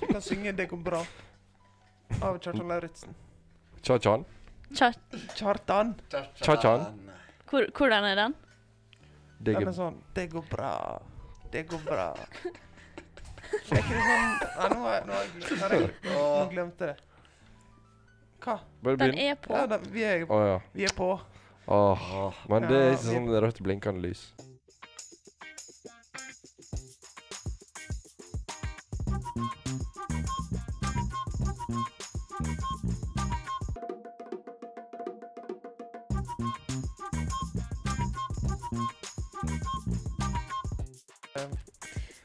Jeg kan synge 'Det går bra' av Kjartan Lauritzen. Cha-chan. Tja, Kjartan! Cha-chan. hvor, hvordan er den? Det Den er er sånn 'Det går bra, det går bra'. Er ikke det sånn Nei, nå har jeg, nå har jeg, nå har jeg, nå glemte jeg det. Hva? Bare Den begynn. er på. Ja, da, vi, er, Å ja. vi er på. Åh. Men det er Ja, ikke vi- sånn rødt blinkende lys.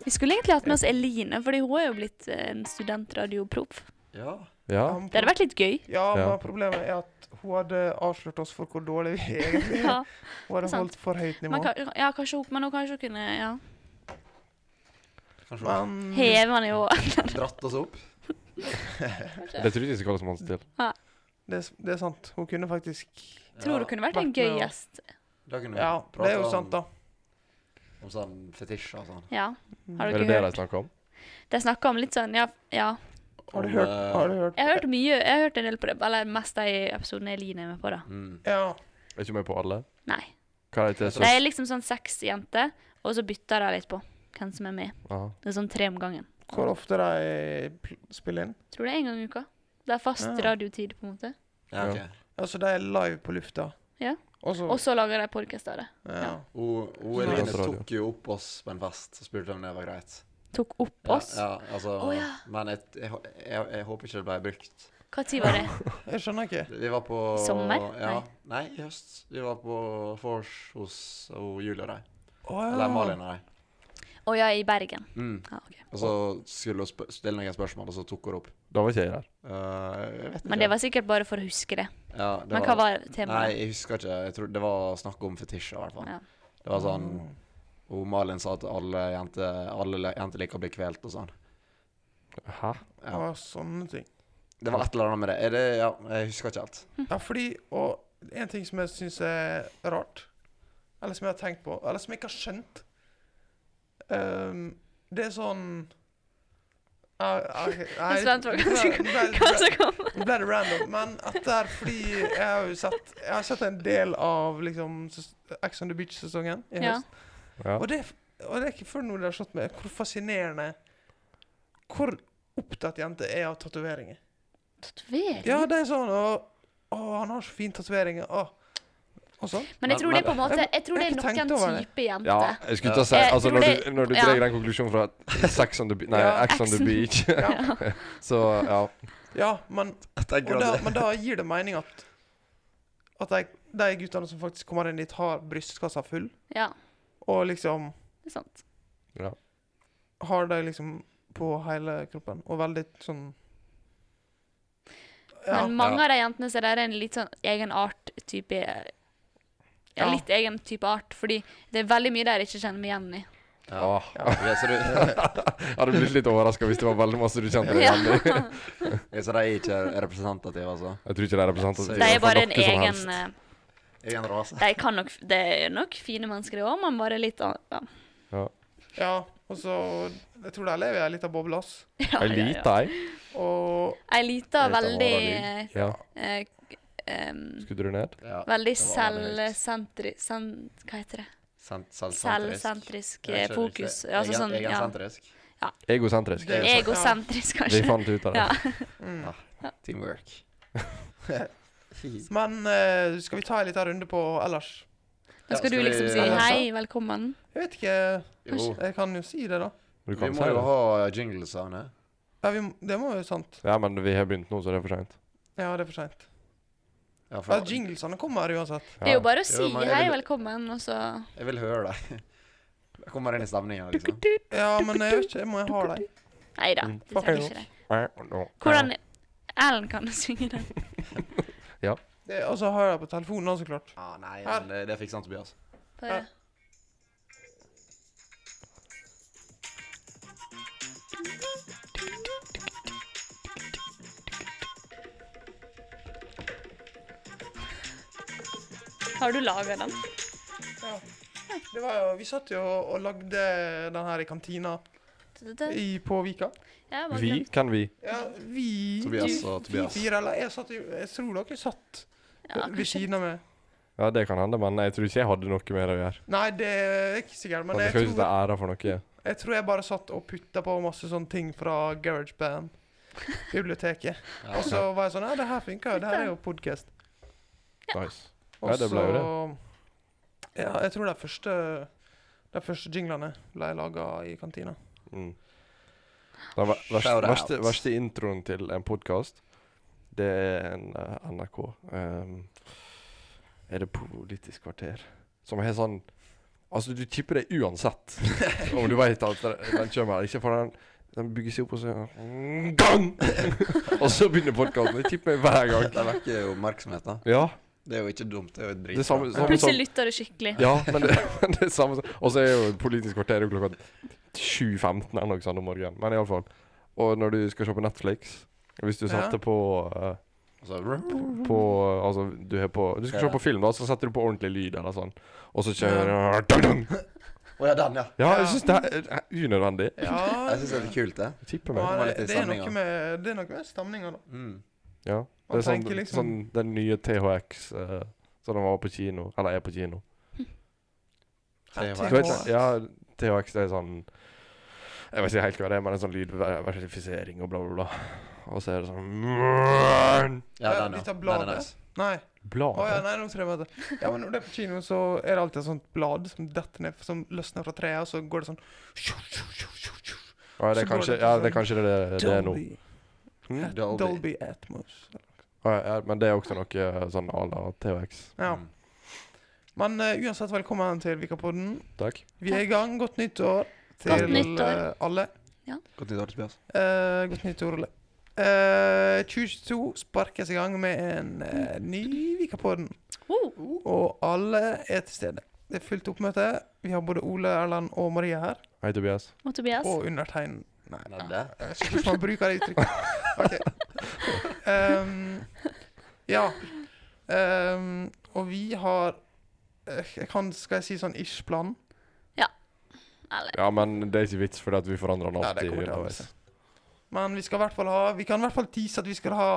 Vi skulle egentlig hatt med oss Eline, fordi hun er jo blitt eh, en studentradioproff. Ja. Ja. Han- Det hadde vært litt gøy. Ja, Ja. men problemet er at hun hadde avslørt oss for hvor dårlig vi egentlig er. Ja, Hun hadde sant. holdt for høyt nivå. men, ka- ja kanskje hun, men hun kanskje hun kunne ja. Kanskje hun Men heve den i år. har dratt oss opp. Det tror jeg ikke skal holde som hans til. det, er- det er sant. Hun kunne faktisk Tror Ja, det kunne vært en vært med gøy og- gjest. Da kunne vi Ja, det er prate jo om- sant, da. Om sånn fetisjer og sånn. Ja. Har Er dere det det de hørt? snakker om? De snakker om litt sånn ja, ja. Har du Om, hørt? eh, Har du hørt? Jeg har hørt mye, jeg har hørt en del på det, eller mest de episodene Eline er med på, da. Mm. Ja. Er ikke med på alle? Nei. Hva er det til? De Så- er liksom sånn seks jenter, og så bytter de litt på hvem som er med. Aha. Det er sånn tre om gangen. Hvor ofte de pl- spiller inn? Tror det er én gang i uka. Det er fast Ah. radiotid, på en måte. Ja, ok. Altså, de er live på lufta. Ja. Og så Og så lager de podkast av det. ja. Hun Ja. hun Eline Studentradio. tok jo opp oss på en fest og spurte om det var greit. Tok opp Ja, oss. ja, altså, Å, ja. Men jeg, jeg, jeg, jeg håper ikke det ble brukt. Hva tid var det? Jeg skjønner ikke. Vi var på I sommer? Ja, nei, i høst. Vi var på vors hos og Julie og de. Å Eller Malin og de. Å ja, i Bergen. Mm. Ja, ok. Og så skulle hun spø- stille noen spørsmål, og så tok hun det opp. Da var ikke jeg der. Eh, jeg vet ikke. Men det var sikkert bare for å huske det. ja, det Men hva var Nei, temaet? jeg husker ikke. Jeg tror det var snakk om fetisjer, i hvert fall. Ja. Det var sånn Mm. Og Malin sa at alle jenter, alle le- jenter liker å bli kvelt og sånn. Hæ? Ja. Å, sånne ting. Det var et eller annet med det. Er det ja, jeg husker ikke helt. Hm. Ja, fordi Og en ting som jeg syns er rart, eller som jeg har tenkt på, eller som jeg ikke har skjønt ehm, Det er sånn Ah, ah, Nei, Jeg er spent på hva som- ble- ble- Hva som kom? ble det random. Men etter Fordi jeg har jo sett Jeg har sett en del av liksom ses- Ex on the Beach-sesongen i Ja. høst. Ja. Og, det, er f- og det er ikke før nå det har slått meg hvor fascinerende Hvor opptatt jenter er av tatoveringer. Tatovering? Ja, det er sånn Å, å han har så fine tatoveringer. Å. Og sånn. Men jeg tror det er på en måte Jeg tror det Jeg er har ikke noen tenkt over det. type Ja, jenter. jeg skulle til å si Jeg Altså, tror når det- du, når du ja. drar den konklusjonen fra at Sex on the Beach Nei, Ja. X on the Exen. Beach. Ja. Så ja. ja, men, og da, men da gir det mening at At de, de guttene som faktisk kommer inn dit, har brystkassa full, Ja, og liksom det er sant. har de liksom på hele kroppen, og veldig sånn Ja. Men mange av de jentene så der er en litt sånn egen art type Ja, Ja. litt egen type art, fordi det er veldig mye der jeg ikke kjenner meg igjen i. Ja. Åh. Ok, så, du, Jeg hadde blitt litt overraska hvis det var veldig masse du kjente deg Ja. igjen i. ok, så de er ikke representative, altså? Jeg tror ikke det er representativt. De er for bare en noe som egen helst. eh, Egen rase. De kan nok Det er nok fine mennesker, det òg, men bare litt an- ja. Ja, og så Jeg tror de lever i ei lita boble, ass. Ja, Jeg ja, ja. liter, jeg. Og Ei lita, Jeg vet det var veldig da Ja. eh, k- em, Skulle du ned? Ja. Veldig det var veldig høyt. selvsentri... sen- Hva heter det? Sen- Selvsentrisk. Selvsentrisk Jeg eh, vet ikke fokus. riktig. Ja, Altså Egen- sånn ja. Egensentrisk. Egosentrisk. Det- Egosentrisk, Vi kanskje. fant ut av det. Ja. mm. Teamwork. Fint. Men eh, skal vi ta en liten runde på ellers? Da skal du liksom si Ja. hei, velkommen. Jeg vet ikke. Jo, Jeg kan jo si det, da. Du vi kan må si jo det. ha jinglesene. Ja, vi, må- det må jo sant. Ja, men vi har begynt nå, så det er for seint. Ja, det er for seint. Ja, for Ja, jinglesene kommer uansett. Det er jo Ja. bare å Jo, si men jeg hei, vil- velkommen, og så jeg vil høre deg. Jeg kommer inn i stemninga, liksom. Ja, men jeg vet ikke, jeg må jeg ha dem. Nei da, Mm. du trenger ikke det. Hvordan Ellen kan synge den. Og så har jeg dem på telefonen, da, så klart. Ah, nei, men det, det fikk sant Tobias. Bare. Har du laga den? Ja. Det var jo, vi satt jo og lagde den her i kantina. Så i, på Vika. Jeg bare Vi? glemte. Kan vi? Ja, vi Tobias og Vi Tobias. fire, eller jeg, satt, jo- jeg tror dere satt Ja, ved kanskje. siden av meg. Ja, det kan hende, men jeg tror ikke jeg hadde noe med det å gjøre. Nei, det er ikke sikkert, men Men jeg jeg skal ikke ta tror, æra for noe. jeg tror jeg bare satt og putta på masse sånne ting fra GarageBand. Biblioteket. Ja. Og så var jeg sånn Ja, det her funker jo. Det her er jo podkast. Nice. Og Ja, det ble jo så Ja, jeg tror de første De første jinglene ble laga i kantina. Mm. Den ver- verste, Shout out. verste, verste introen til en podkast, det er en eh, NRK ehm, Er det Politisk kvarter? Som har sånn Altså, du tipper det uansett om du veit at det- den kommer. Ikke for den den bygger seg opp og så Gang! og så begynner podkasten. Jeg tipper meg hver gang. Det vekker jo oppmerksomhet, da. Ja, Det er jo ikke dumt. Det er jo det dritbra. er samme, samme som Plutselig lytter du skikkelig. sånn- Ja, men det, men det er samme som Og så er jo Politisk kvarter jo klokka 7.15 eller noe sånt om morgenen. Men iallfall. Og når du skal se på Netflix Hvis du Ja. setter på eh, Og så- På Altså, du har på Du skal Ja. se på film, da, så setter du på ordentlig lyd eller sånn, og så kjører dang, dang. Å ja, den, ja. Ja, Ja. jeg syns det er er unødvendig. Ja, Jeg syns det er litt kult, det. Jeg tipper meg. ja, var litt i det, det, er noe stemninga. med, det er noe med stemninga, da. Mm. Ja. Det Man er sånn, tenker liksom- sånn den nye THX uh, som den var på kino, eller er på kino. Det Du vet, sånn- ja, THX det er sånn Jeg vet ikke helt hva det er, men det er sånn lydverifisering og bla, bla, bla. Og så er det sånn Ja, Ja, den, ja. litt av Den er bladet. nice. Nei. Blad. Å ja, nei, nå tror jeg meg det. Ja, men når det er på kino, så er det alltid et sånt blad som detter ned, som løsner fra treet, og så går det sånn Ja, det Så er går kanskje det til ja, det, sånn er kanskje det, det, det er nå. Dolby, Hm? At- Dolby. Dolby Atmos. Ja, ja, men det er også noe eh, sånn à la THX. Ja. Mm. Men eh, uansett, velkommen til Vikapodden. Takk. Vi er i gang. Godt nytt år til Godt nytt år. eh, alle. Godt nyttår, Tobias. Eh, godt nytt år, alle. Eh, 2022 sparkes i gang med en eh, ny Vikapodden. Oh, Uh. Og alle er til stede. Det er fullt oppmøte. Vi har både Ole, Erland og Marie her. Hei, Tobias. og Tobias. Og undertegn... Nei, Nei, ja. det- jeg skal ikke man bruker det uttrykket. Ok. Ehm, ja. Ehm, og vi har eh, jeg kan, Skal jeg si sånn ish-plan? Eller Ja, men det er ikke vits, fordi at vi forandrer den Ja, det alltid kommer til å underveis. endre Men vi skal i hvert fall ha Vi kan i hvert fall tease at vi skal ha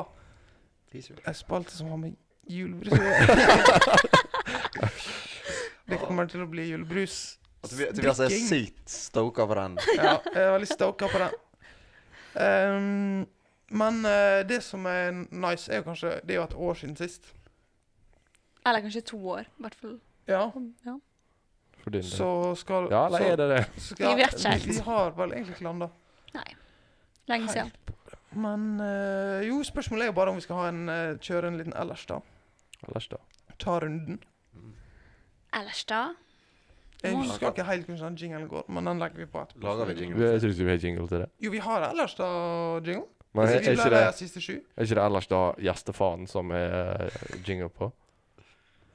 en spalte som har med julebrus å gjøre. Det kommer til å bli julebrus. Og Tobi- Tobias er Drikking. sykt stoka på den. Ja, jeg er veldig stoka på den. Ehm, men eh, det som er nice, er jo kanskje Det er jo et år siden sist. eller kanskje to år, i hvert fall. Ja, Ja. For din del. så skal Ja, eller er det det? så, Vi vet ikke helt. Vi har vel egentlig ikke landa. Nei. Lenge siden. Men eh, jo, spørsmålet er jo bare om vi skal ha en, eh, kjøre en liten ellers, da. Ellers, da. Ta runden. Ellers da? Jeg Oi. husker ikke helt hvordan den jinglen går, men den legger vi på etterpå. Lager vi Vi- jingle? Jeg tror ikke vi har jingle til det. Jo, vi har ellers, da, jingle. Men er Hvis er ikke ikke ble det, det siste sju. er ikke det ellers da gjestefaen som er eh, jingle på?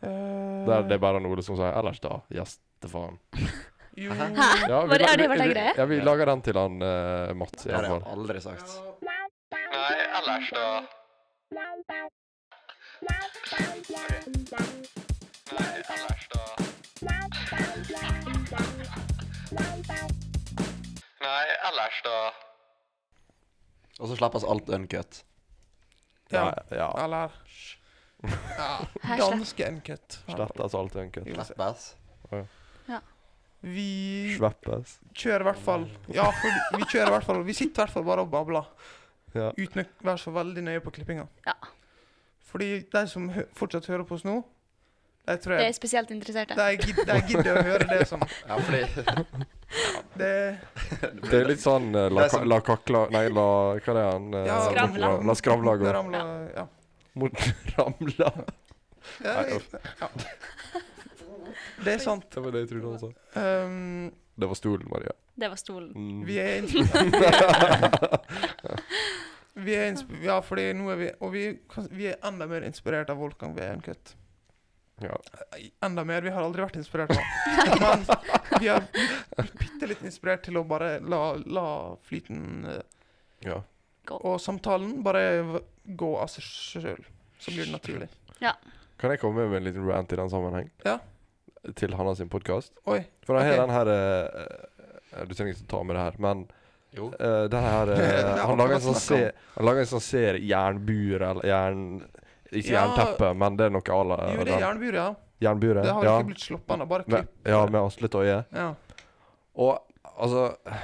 Der det er bare Ole som sier 'ellers da, gjestefaen'. Jo. Hæ? Hæ? Ja, Var det- la- har det vært en vi- greie? Ja, vi lager den til han eh, Mats, i Det har alle jeg fall. aldri sagt. Nei, ellers da. Nei, ellers da. Nei, ellers da. Og så slippes alt uncut. Ja. ja. Eller Her slett. Danske uncut. Slettes alt i en kutt. Jo. Slippes. Vi Sveppes. kjører i hvert fall Ja, for vi kjører i hvert fall Vi sitter i hvert fall bare og babler. Ja. Uten å være så veldig nøye på klippinga. Ja. Fordi de som hø fortsatt hører på oss nå, de tror Det jeg er spesielt interesserte. De gid- de gidder å høre det som Ja, fordi Det Det er litt sånn eh, la, Det er sånn- la kakla Nei, la Hva er det han eh, Ja, Skravla. La, la skravla gå. ramla Ja. Mot ramla. Ja, jeg- ja. Det er sant. Det var det jeg trodde han sa. Um, Det var stolen, Maria. Det var stolen. Mm. vi er Vi er insp ja, fordi nå er vi Og vi, kan- vi er enda mer inspirert av Wolfgang V. Uncut. Ja. Enda mer. Vi har aldri vært inspirert av han. Men vi er bitte litt inspirert til å bare la, la flyten eh, ja. og samtalen bare v- gå av seg sjøl. Så blir det naturlig. Kan jeg komme med en liten rant i den sammenheng? Ja. Til Hanna sin podkast? Oi. For jeg Ok. har den her eh, eh, Du trenger ikke ta med det her, men Jo. Eh, den her eh, Ja, Han lager en hva sånn snakker se- Han lager en sånn serie Jernbur eller jern... Ikke Ja. jernteppe, men det er noe à la Jo, det er den. jernbur, ja. Jernburet. Det har ja. ikke blitt sluppet ennå. Bare Med, klipp. ja, med Asle Tøye. Ja. Og altså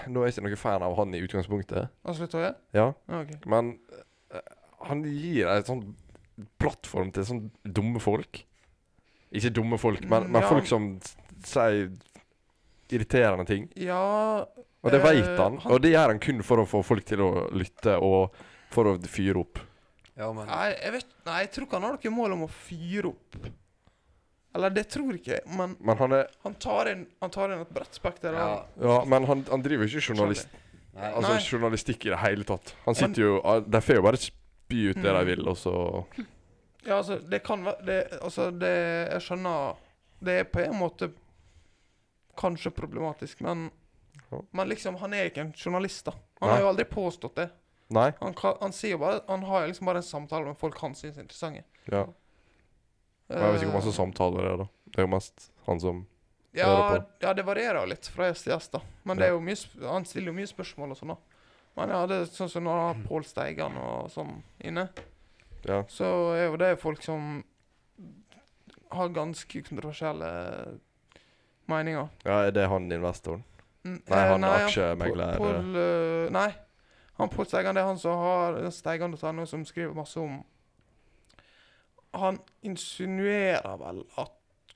Nå er jeg ikke noen fan av han i utgangspunktet, Og slutt å gjøre? ja, Ja, ok. men eh, han gir ei sånn plattform til sånn dumme folk. Ikke dumme folk, men, Mm, men ja. folk som s- sier irriterende ting. Ja Og det Eh, veit han, han- og det gjør han kun for å få folk til å lytte og for å fyre opp. Ja, men Nei, jeg vet Nei, jeg tror ikke han har noe mål om å fyre opp. Eller det tror jeg ikke, men Men han er han tar inn, han tar inn et bredt spekter av ja. Ja, men han, han driver jo ikke journalist, Nei. altså, Nei. journalistikk i det hele tatt. Han sitter jo ah, De får jo bare spy ut Mm. det de vil, og så Ja, altså, det kan være det, Altså, det Jeg skjønner Det er på en måte kanskje problematisk, men Ja. Men liksom, han er ikke en journalist, da. Han Nei. har jo aldri påstått det. Nei. Han, kan, han sier jo bare Han har jo liksom bare en samtale med folk han syns er interessante. Ja. Og Jeg vet ikke hvor masse Eh, samtaler det er, da. Det er jo mest han som hører ja, ja, det varierer jo litt fra gjest til gjest, da. Men det er jo mye, sp- han stiller jo mye spørsmål og sånn, da. Men ja, det er sånn som når han har Pål Steigan og sånn inne, Ja. så er jo det folk som har ganske kontroversielle meninger. ja, er det han investoren? Mm, Nei, eh, han er Pål- aksjemegler. Pål, eh, Nei, han Pål Steigan, det er han som har den Steigan.no som skriver masse om Han insinuerer vel at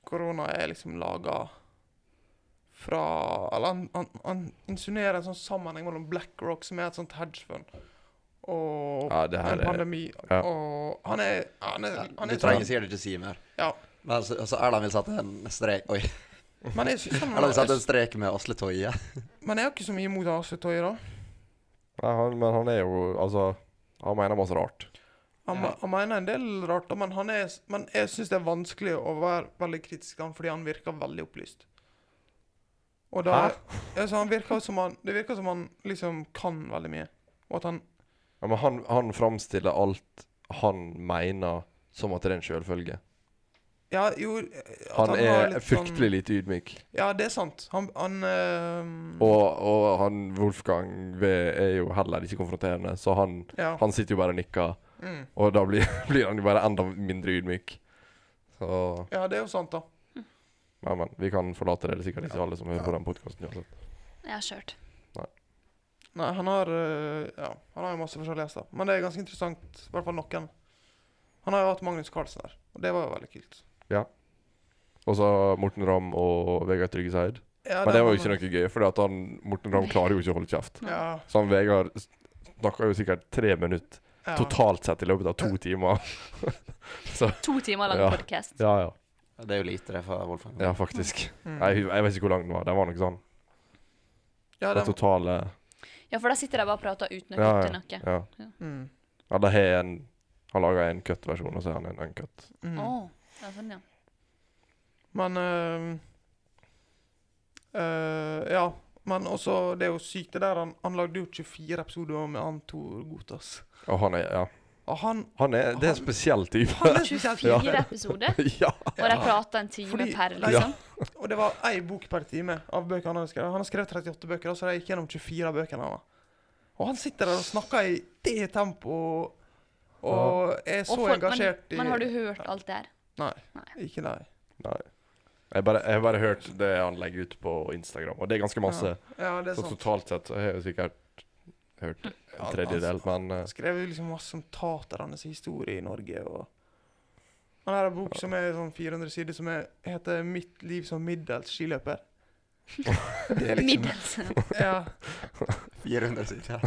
korona er liksom laga fra Eller han, han, han insinuerer en sånn sammenheng mellom BlackRock, som er et sånt hedgefund, og Ja, det her en er pandemi. ja. Og han er Han er, Ja, han Du er sånn- trenger sikkert ikke si mer. Ja. Men så, så Erland vil sette en strek Oi. Men jeg synes han Erland vil sette en er, strek med Asle Toje. Men jeg har ikke så mye imot Asle Toje, da. Nei, han, men han er jo Altså, han mener masse rart. Han, Ja. han mener en del rart, da, men, han er, men jeg syns det er vanskelig å være veldig kritisk til han fordi han virker veldig opplyst. Og da Hæ? altså, han virker som han, Det virker som han liksom kan veldig mye. Og at han Ja, men han, han framstiller alt han mener, som at det er en sjølfølge. Ja, jo at Han har er litt fryktelig lite ydmyk. Sånn, ja, det er sant. Han, han ehm, Og, og han Wolfgang V er jo heller ikke konfronterende, så han, ja. han sitter jo bare og nikker. Mm. Og da blir, blir han jo bare enda mindre ydmyk. Så ja, det er jo sant, da. Nei, men vi kan forlate det. Det er sikkert ikke alle som hører på den podkasten uansett. Jeg har kjørt. Nei, han har eh, Ja, han har jo masse forskjellige gjester. Men det er ganske interessant, i hvert fall noen. Han har jo hatt Magnus Carlsen her, og det var jo veldig kult. Og så Morten Ramm og Vegard Trygge Seid. Ja, Men det var han- jo ikke noe gøy, for Morten Ramm klarer jo ikke å holde kjeft. ja, Så han Vegard s- snakka jo sikkert tre minutter ja. totalt sett i løpet av to timer. To timer lang Ja. podcast. Ja, ja. Det er jo lite, det, for Wolfgang. Ja, faktisk. Mm. Jeg, hu- jeg vet ikke hvor lang den var. Den var nok sånn. Ja, Den det, totale Ja, for da sitter de bare og prater uten å Ja, kutte noe. Ja. mm, ja da har jeg en Han laga en cut-versjon, og så har han en uncut. mm. Å, ja, sånn, ja. Men øhm, øh, Ja. Men også, det er jo sykt, det der. Han, han lagde jo 24 episoder med han Tor Gotas. Og han er Ja. Og han Han er, det er en spesiell type. Han er spesielt. 24 episoder, ja. og de prater en time Fordi- per, Ja. liksom. Og det var én bok per time av bøker han hadde skrevet. Han har skrevet 38 bøker, da, så jeg gikk gjennom 24 av bøkene hans. Og han sitter der og snakker i det tempoet, og, og er så Og folk- engasjert men, men har du hørt alt det her? i Ikke nei. Nei. Jeg bare, jeg har bare hørt det han legger ut på Instagram, og det er ganske masse. Ja, det er Så sant. Mm. totalt sett så har jeg jo sikkert hørt en tredjedel, men eh, Han skrev jo liksom masse om taternes historie i Norge. og Han har en bok som er sånn 400 sider, som er, heter 'Mitt liv som middels skiløper'. Det er liksom Middels. ja. 400 sider.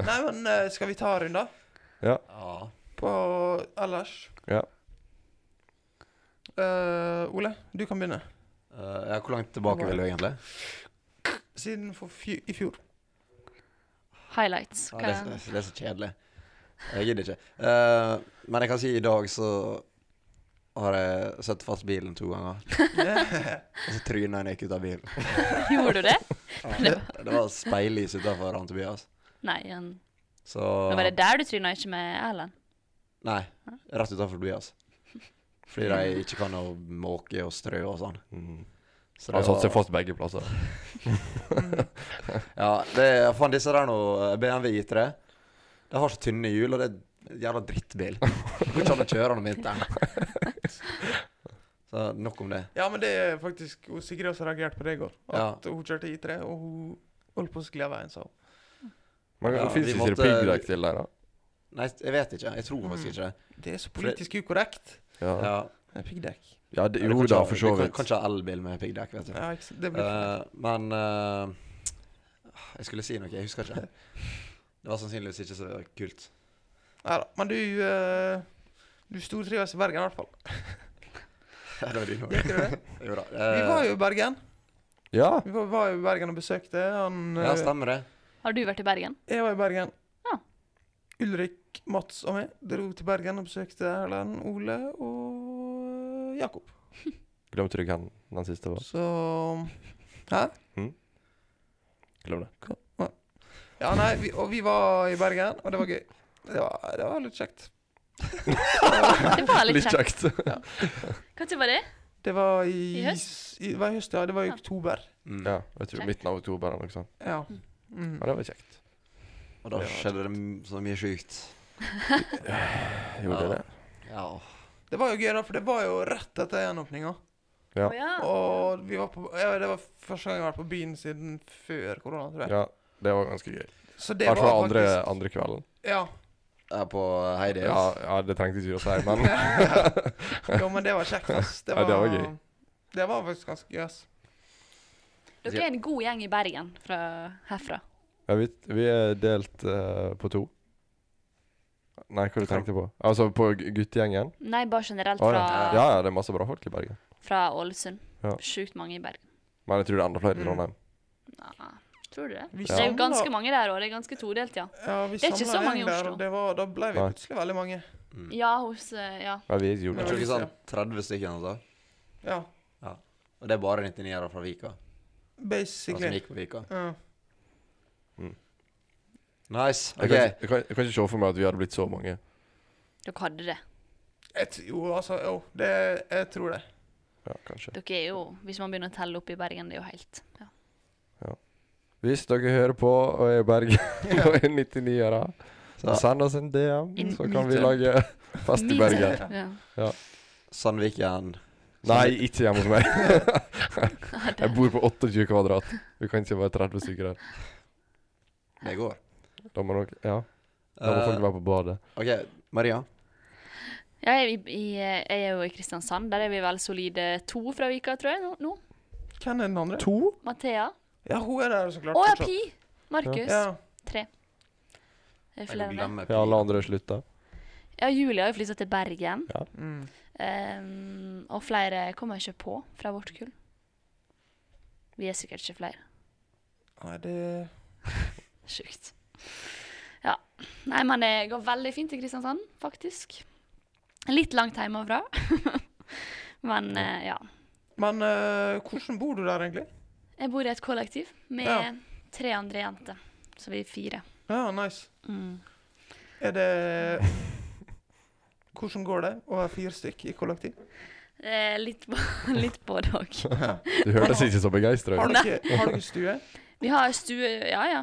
Nei, men eh, skal vi ta en runde Ja. på ellers? Ja. Eh, Ole, du kan begynne. Eh, ja, hvor langt tilbake vil du egentlig? Siden for fj i fjor. Highlights. Ja, Hva det, er, så- det er så kjedelig. Jeg gidder ikke. Eh, men jeg kan si i dag så har jeg satt fast bilen to ganger. Og så tryna jeg når jeg gikk ut av bilen. Gjorde du det? Det var speillys utafor han Tobias. Nei, han, Så nå var det der du tryna, ikke med Erlend. Nei, rett utafor Tobias. Fordi de ikke kan å måke og strø og sånn. mm. Så det Han satte seg var- fast begge plasser. Ja, det er, eh, faen, disse der nå, BMW I3, de har så tynne hjul, og det er en jævla drittbil. Går ikke an å kjøre den om vinteren. Så nok om det. Ja, men det er faktisk hun Sigrid også reagerte på det i går. At hun kjørte I3, og hun holdt på å skli av veien, sa hun. Men Ja, det fins vi ikke måtte- piggdekk til der, da? Nei, jeg vet ikke. Jeg tror faktisk ikke det. Det er så politisk ukorrekt. Ja, Ja. Det er Piggdekk. ja Mm. det, Du jo kan ikke da, ha- for så Du kan- vidt. kan ikke ha elbil med piggdekk, vet du. Ja, ikke sant? det blir Eh, men eh, Jeg skulle si noe, jeg husker ikke. Det var sannsynligvis ikke så kult. Nei da. Men du eh, Du stortrives i Bergen, i hvert fall. Ja, det var din Gjør ikke du det? Jo da. Vi eh, var jo i Bergen. Ja, Vi var, var jo i Bergen og besøkte han Ja, eh, stemmer det. Har du vært i Bergen? Jeg var i Bergen. Ja. Ulrik, Mats og meg dro til Bergen og besøkte Erlend, Ole og Jakob. glemte du hvem den siste var? Så Glem det. Ja, nei, vi, og vi var i Bergen, og det var gøy. Det var, det var litt kjekt. Det var litt Litt kjekt. kjekt. Når var det? Det var i, I høst? I, det var i høst, ja. Det var i Ja. oktober. Mm. Ja, jeg tror Kjekt. midten av oktober eller noe sånt. Ja. Mm. Ja, det var kjekt. Og da Det var skjedde det m- så mye sjukt. Gjorde det Ja. det? Ja. Det var jo gøy, da, for det var jo rett etter gjenåpninga. Ja. Å, ja. Og vi var på ja, Det var første gang jeg var på byen siden før korona, tror jeg. Ja, det var ganske gøy. Så I det hvert fall var andre, faktisk andre kvelden. Ja. Jeg er på Heidi. Ja, ja, det trengte ikke du å si, men Jo, men det var kjekt, ass. Det Ja, var, det var gøy. Det var faktisk ganske gøy, ass. Dere er en god gjeng i Bergen fra herfra. ja, vi, vi er delt eh, på to. Nei, hva du tenkte du på? Altså på gu- guttegjengen? Nei, bare generelt Å, fra, ja. ja, ja, det er masse bra folk i Bergen. fra Ålesund. Ja. Sjukt mange i Bergen. Men jeg tror det er enda flere Mm. i Trondheim. Nei, tror du det? Vi Det er jo samlet- ganske mange der òg. Det er ganske todelt, ja. Ja, vi Det er ikke samlet så mange gjeng i der, Oslo. og Det var, da ble vi Nei. plutselig veldig mange. Mm. Ja, hos eh, Ja. Ja, vi gjorde Ja. Jeg det. tror ikke sånn 30 stykker altså. Ja, Og det er bare 99-ere fra Vika. Og som basically. Altså, gikk på Vika. Ja. Nice. Jeg Ok. kan, ikke- jeg, kan, jeg kan ikke se for meg at vi hadde blitt så mange. Dere hadde det. Jeg t- jo, altså, jo, det, jeg tror det. Ja, kanskje. Dere er jo Hvis man begynner å telle opp i Bergen, det er jo helt ja. Hvis dere hører på og er i Bergen og er 99-ere, Så send oss en DM, In- så kan vi meetup. lage fest i Bergen. Ja. Sandviken Nei, ikke hjemme hos meg. Jeg bor på 28 kvadrat. Vi kan ikke være 30 stykker her. Det går. Da må, nok, ja, da må folk Eh, være på badet. OK, Maria. Ja, jeg, er i, i, jeg er jo i Kristiansand. Der er vi vel solide to fra Vika, tror jeg. nå- Nå. Hvem er den andre? To? Mathea. Ja, hun er der, så Å klart. ja, fortsatt. Pi! Markus. Ja. Tre. Er det Jeg flere kan enn det? glemme Ja, alle andre slutta. Ja, Julie har jo flytta til Bergen. Mm. ehm, og flere kommer jeg ikke på fra vårt kull. Vi er sikkert ikke flere. Nei, det Sjukt. Ja. Nei, men det går veldig fint i Kristiansand, faktisk. Litt langt hjemmefra. men eh, ja. Men eh, hvordan bor du der, egentlig? Jeg bor i et kollektiv med Ja. tre andre jenter, så vi er fire. Ja, nice. Mm. Er det Hvordan går det å være fire stykk i kollektiv? Eh, litt, på, litt både òg. Du hørtes ikke så begeistra Har ut. dere, har dere stue? Vi har stue Ja, ja.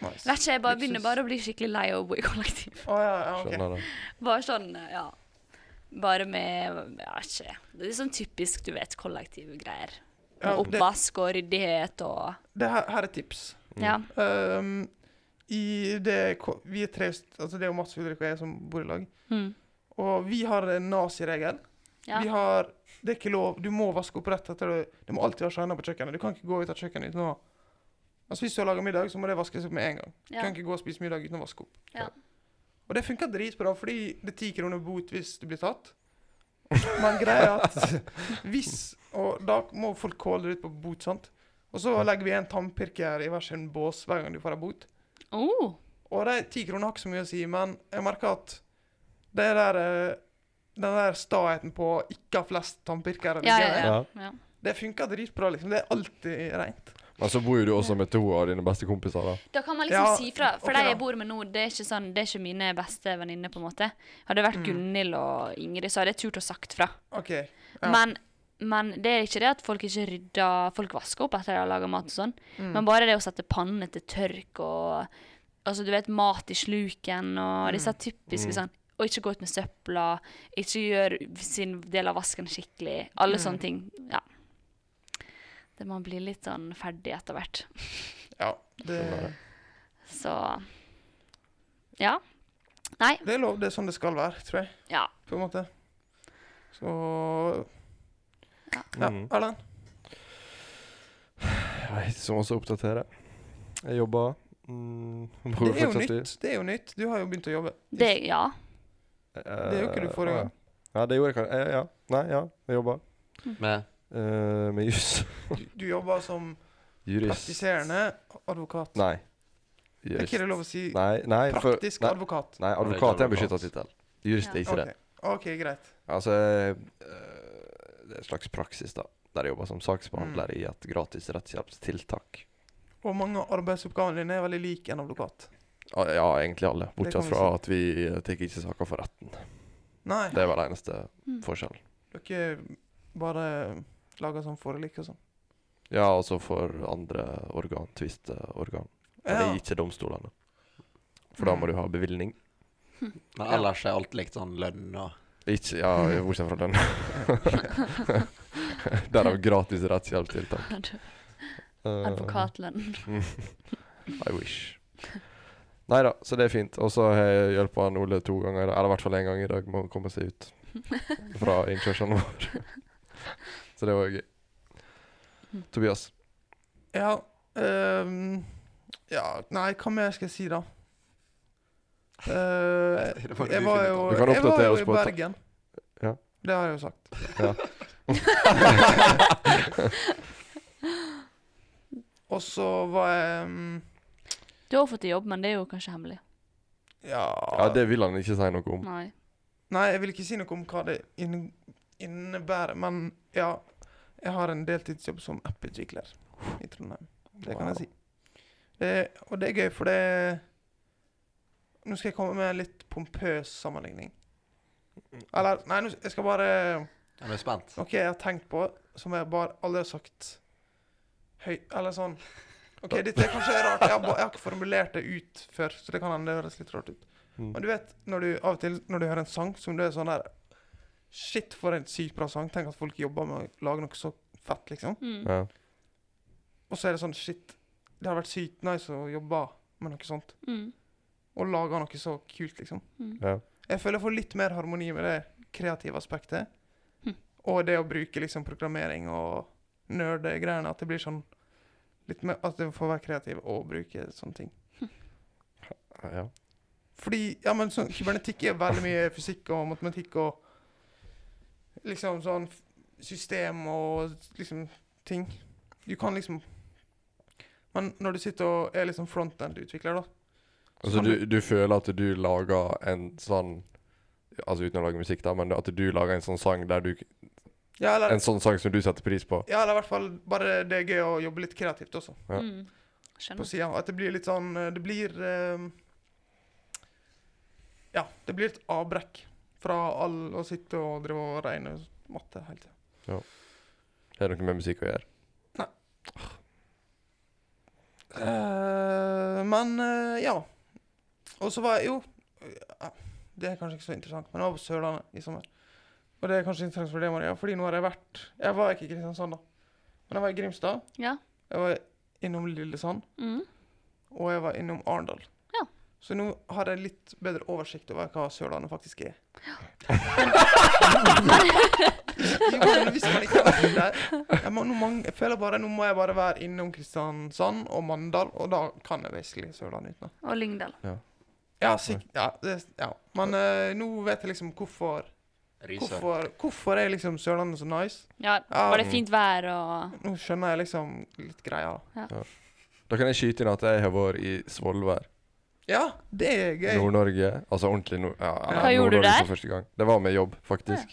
Nice. Vet ikke, jeg bare Luksus. begynner bare å bli skikkelig lei av å bo i kollektiv. Å ja, ja, ok. Skjønner det. Bare sånn, ja. Bare med Ja, ikke Det er sånn typisk, du vet, kollektivgreier. Ja, det- Oppvask og ryddighet og Det her, her er tips. Ja. Ehm, I det ko- Vi er tre st- Altså det er jo Mats Ulrik og jeg som bor i lag. Mm. Og vi har en naziregel. Ja. Vi har Det er ikke lov. Du må vaske opp rett etter du Det må alltid være shiner på kjøkkenet. Du kan ikke gå ut av kjøkkenet uten å Altså Hvis du har laga middag, så må det vaskes opp med en gang. Du Ja. kan ikke gå og spise middag uten å vaske opp. Ja. Og det funker dritbra, fordi det er ti kroner bot hvis du blir tatt. Men greia er at hvis Og da må folk calle det ut på bot, sant? Og så legger vi en tannpirker i hver sin bås hver gang du får en bot. Oh, Og de ti kronene har ikke så mye å si, men jeg merker at det der eh, den der staheten på ikke ha flest tannpirkere, ja, liggende, ja, Ja. ja. ja. det funker dritbra. liksom. Det er alltid rent. Men så bor jo du også med to av dine beste kompiser, da. Da kan man liksom Ja, si fra. For ok de da. jeg bor med nå, det er ikke, sånn, det er ikke mine beste Mm. venninner, på en måte. Hadde det vært Gunhild og Ingrid, så hadde jeg turt å sagt fra. OK. Ja. Men Men det er ikke det at folk ikke rydder Folk vasker opp etter de har laga mat og sånn. Mm. Men bare det å sette pannene til tørk og Altså, du vet, mat i sluken Mm. og disse typiske sånn Og ikke gå ut med søpla, ikke gjøre sin del av vasken skikkelig. Alle Mm. sånne ting. Ja. Det Man blir litt sånn ferdig etter hvert. Ja, det, Så Ja. Nei. det er lov. Det er sånn det skal være, tror jeg. Ja. På en måte. Så Ja, Mm. Erlend? Jeg har ikke så mye å oppdatere. Jeg jobber. Mm, Det bor er jo fortsatt i- nytt. Det er jo nytt. Du har jo begynt å jobbe. Det Ja. Eh, Det gjorde ikke du forrige ja. gang. Ja, det gjorde jeg kanskje. Eh, ja. Nei, ja. Jeg jobber Med eh, med juss. Du, du jobber som Jurist. praktiserende advokat. Nei. Er ikke Jurist. det lov å si Nei, nei, for, praktisk nei, advokat? nei, det er ikke advokat er en advokat. beskytta tittel. Jurist er Ja. ikke det. Ok. OK, greit. Altså eh, Det er en slags praksis, da. Der jeg jobber som Mm. saksbehandler i et gratis rettshjelpstiltak. Og mange av arbeidsoppgavene dine er veldig lik en advokat. Ah, Ja, egentlig alle. kan Bortsett vi fra at vi eh, tar ikke saker for retten. Nei, Det er vel eneste Mm. forskjellen. dere bare lager sånn forelik og sånn. Ja, også for andre organ. Tvisteorgan. Eller Ja. ikke domstolene. For da Mm. må du ha bevilgning. Men ellers er alt likt sånn lønn og Ikke Ja, bortsett fra den. Derav gratis rettshjelpstiltak. Eh, Advokatlønn. I wish. Nei da, så det er fint. Og så har jeg hjulpet han Ole to ganger, eller i hvert fall én gang i dag, med å komme seg ut fra innkjørselen vår. så det var gøy. Tobias. Ja, ehm, ja Nei, hva mer skal jeg si, da? Eh, Det må du jeg var finne ut jo, av. Du kan jeg var oppdatere jo oss i på et- Bergen. Ja. Det har jeg jo sagt. Ja. Og så var jeg mm, Du har fått jobb, men det er jo kanskje hemmelig. Ja, ja, det vil han ikke si noe om. Nei. Nei, jeg vil ikke si noe om hva det inn- innebærer, men ja. Jeg har en deltidsjobb som apputvikler i Trondheim. Det kan Wow. jeg si. Det, og det er gøy, for det Nå skal jeg komme med en litt pompøs sammenligning. Eller Nei, nå, jeg skal bare Jeg er spent. Noe jeg har tenkt på som jeg bare aldri har sagt høyt Eller sånn OK, dette er kanskje rart. Jeg har, ba, jeg har ikke formulert det ut før, så det kan hende det høres litt rart ut. Mm. Men du vet når du av og til når du hører en sang som du er sånn der Shit, for en sykt bra sang. Tenk at folk jobber med å lage noe så fett, liksom. Mm. Ja. Og så er det sånn Shit, det hadde vært sykt nice å jobbe med noe sånt. Mm. Og lage noe så kult, liksom. Ja. Jeg føler jeg får litt mer harmoni med det kreative aspektet. Hm. Og det å bruke liksom programmering og nerdegreiene. At det blir sånn litt mer, At det får være kreativ og bruke sånne ting. ja. Fordi ja, men sånn, kybernetikk er veldig mye fysikk og matematikk og liksom sånn f- system og liksom ting. Du kan liksom Men når du sitter og er liksom frontend-utvikler, da Altså, du, du føler at du lager en sånn Altså uten å lage musikk, da, men at du lager en sånn sang der du ja eller, En sånn sang som du setter pris på. ja, eller i hvert fall bare det er gøy å jobbe litt kreativt også. Ja. Mm. på Skjønner. sida. At det blir litt sånn eh, Det blir eh, Ja, det blir et avbrekk fra all å sitte og drive og regne matte hele tida. Har det noe med musikk å gjøre? men eh, ja. Og så var jeg Jo, eh, det er kanskje ikke så interessant, men jeg var på Sørlandet i sommer. Og det er kanskje interessant for deg, Maria, fordi nå har jeg vært Jeg var ikke i Kristiansand, da. Men jeg var i Grimstad. Ja. Jeg var innom Lillesand. Mm. Og jeg var innom Arendal. Ja. Så nå har jeg litt bedre oversikt over hva Sørlandet faktisk er. jo, men hvis man ikke har vært der jeg, må, nå mang- jeg føler bare nå må jeg bare være innom Kristiansand og Mandal, og da kan jeg basically Sørlandet utenat. Og Lyngdal. Ja, sikk- ja, det, ja. Men eh, nå vet jeg liksom hvorfor Risør. Hvorfor, hvorfor er liksom Sørlandet så nice? Ja, Ja. var det fint vær og Nå skjønner jeg liksom litt greia. Da kan jeg skyte inn at jeg har vært i Svolvær. Ja, det er gøy. Nord-Norge. Altså ordentlig nord... Ja, eller Hva gjorde du Nord-Norge der? For første gang. Det var med jobb, faktisk.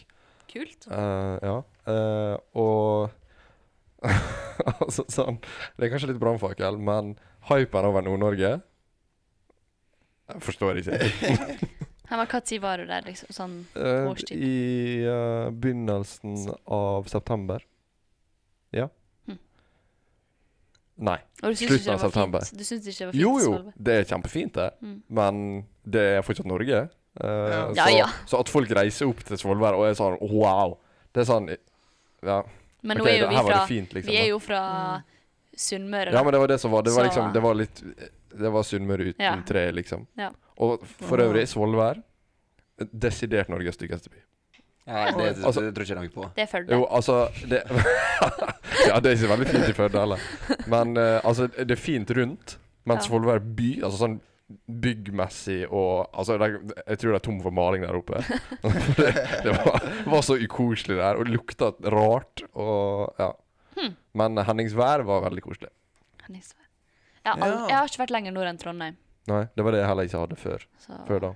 Kult. Eh, ja. Eh, og Altså sånn Det er kanskje litt brannfakkel, men hypen over Nord-Norge Jeg forstår ikke. Men hva tid var du der, liksom? Sånn Eh, Årstid. I eh, begynnelsen av september. Ja. Hm. Nei. Og du syns Slutten ikke det av var september. fint? Du syns ikke det var fint? Jo, i jo, Svolvær? det er kjempefint, det. Mm. Men det er fortsatt Norge. Eh, Ja. Så, Ja, ja. så at folk reiser opp til Svolvær og er sånn wow Det er sånn Ja, Men ok, nå er jo da- vi her var fra det fint, liksom. Vi er da. jo fra Sunnmøre. ja, men det var det som var. Det var Så- liksom Det var litt Det var Sunnmøre uten Ja. tre, liksom. Ja. Og for øvrig, Svolvær Desidert Norges styggeste by. Nei, det, det, Altså- tror ikke jeg noe på. Det er Førde. Jo, altså det, Ja, det er ikke veldig fint i Førde heller. Men eh, altså, det er fint rundt. Men Ja. Svolvær by, altså sånn byggmessig og Altså, det, er- jeg tror det er tom for maling der oppe. For det det var, var så ukoselig der, og lukta rart og Ja. Hmm. Men Henningsvær var veldig koselig. Henningsvær. Jeg, har Ja. aldri, jeg har ikke vært lenger nord enn Trondheim. Nei, det var det jeg heller ikke hadde før, Så. før da.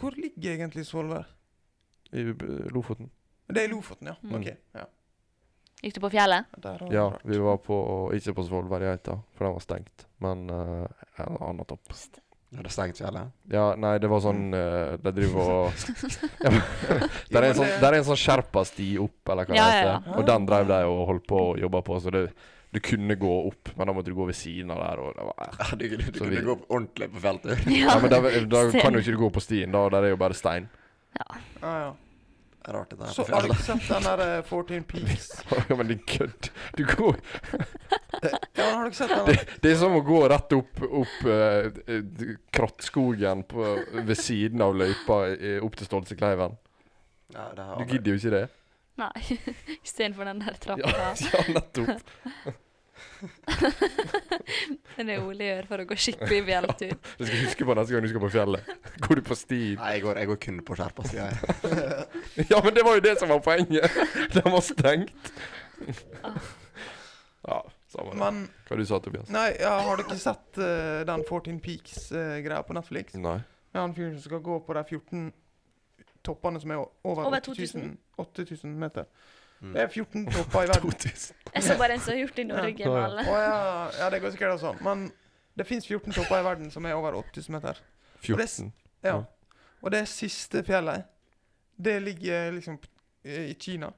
Hvor ligger egentlig Svolvær? I eh, Lofoten. Det er i Lofoten, ja. Mm. Ok, ja. Gikk du på fjellet? Der har Ja, vi vært. vi var på Ikke på Svolværgeita, for den var stengt. Men eh, en annen topp. Ja, det er stengt fjellet. Ja, nei, det var sånn eh, De driver og ja, men- Jo, Der er men en sånn, det- der er en sånn sherpa-sti opp, eller hva Ja, det ja, heter. Og den drev de og holdt på og jobba på, så det, du kunne gå opp, men da måtte du gå ved siden av der. Og det var, Ja, du, du, du Så kunne vi- gå opp ordentlig på feltet. ja, men da, da Sen- kan jo ikke du gå på stien, da. Der er jo bare stein. Ah, ja. Rart dette her Så på har fjellet. dere sett den der eh, 14 Peaks? Ja, men din kødd. Du går Ja, men har dere sett den? det, det er som å gå rett opp, opp eh, eh, krattskogen på, ved siden av løypa eh, opp til Stolsekleiven. Ja, det har Du jeg aldri- gidder jo ikke det. Nei. Istedenfor den Ja, der trappa. ja nettopp. Den er Ole gjør for å gå skikkelig fjelltur. Du skal huske på neste gang du skal på fjellet. Går du på stien? Nei, jeg går, jeg går kun på skjerpa, sier jeg. Ja, men det var jo det som var poenget. Den var stengt. Ja, samme det. Ah. Men Hva du sa Tobias? nei, ja, har dere sett eh, den 14 Peaks-greia på Netflix? Nei. Med han fyren som skal gå på de 14 toppene som er o- over, Over 8000 8000 meter. Mm. Det er 14 topper i verden. 2000. Jeg så bare en som har gjort det i Norge med alle. Å ja, ja, det går sikkert også sånn. Men det fins 14 topper i verden som er over 8000 meter. 14. Ja. Ja. Og det siste fjellet, det ligger liksom p- i Kina.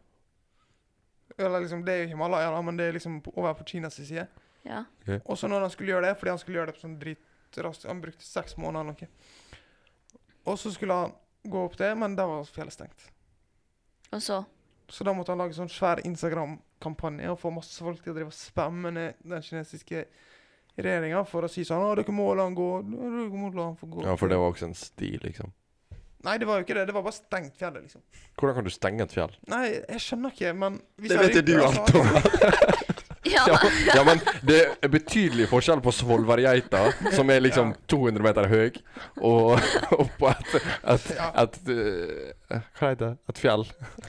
Eller liksom, det er jo Himalaya, da, men det er liksom på- over på Kinas side. Ja. Og så når han skulle gjøre det, fordi han skulle gjøre det på sånn dritraskt Han brukte seks måneder eller noe. Og så skulle han gå opp det, men der var fjellet stengt. Og så Så da måtte han lage sånn svær Instagram-kampanje og få masse folk til å drive og spamme ned den kinesiske regjeringa for å si sånn 'Å, dere må la han gå. Dere må la han få gå.' ja, for det var også en sti, liksom. Nei, det var jo ikke det. Det var bare stengt fjellet, liksom. Hvordan kan du stenge et fjell? Nei, jeg skjønner ikke, men hvis Det jeg vet jo ryker, du altså- alt om. Ja, Ja, ja, men det er betydelig forskjell på Svolværgeita, som er liksom 200 meter høy, og, og på et, et, Ja. et, eh, Hva heter det? Et fjell.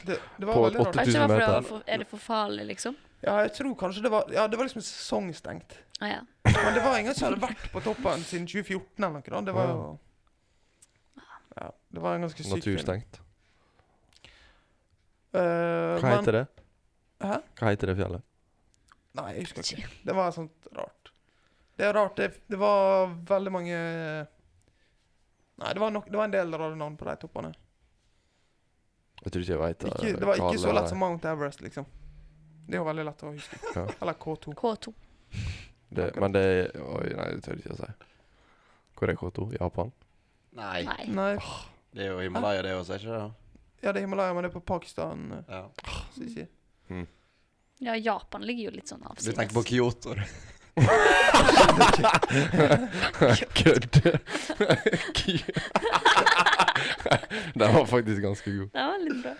Det, det var På veldig rart. er det ikke bare for, å- 1000 for, er det for farlig, liksom? Ja, jeg tror kanskje det var Ja, det var liksom sesongstengt. Å Ah, ja. Men det var ingen som hadde vært på toppen siden 2014 eller noe. da. Det var jo Ja, det var en ganske syk Eh, Naturstengt. Hva Hva heter det? Hæ? Hva heter det fjellet? Nei, jeg husker ikke. Det var sånt rart. Det er rart. Det, det var veldig mange Nei, det var, nok, det var en del rare navn på de toppene. Jeg tror ikke jeg eh, veit. Ikke, det var ikke så lett som Mount Everest, liksom. Det er jo veldig lett å huske. Ja. Eller K2. K2. Det, men det Oi, nei, det tør jeg ikke å si. Hvor er K2? Japan? Nei, Nei. Nei, det er jo Himalaya, det også, er ikke det? ja, det er Himalaya, men det er på Pakistan. eh, Ja. så å si. Ja, Japan ligger jo litt sånn Du avsides. tenker på Kyoto, du. Kødd! Den var faktisk ganske god. Det var litt bra.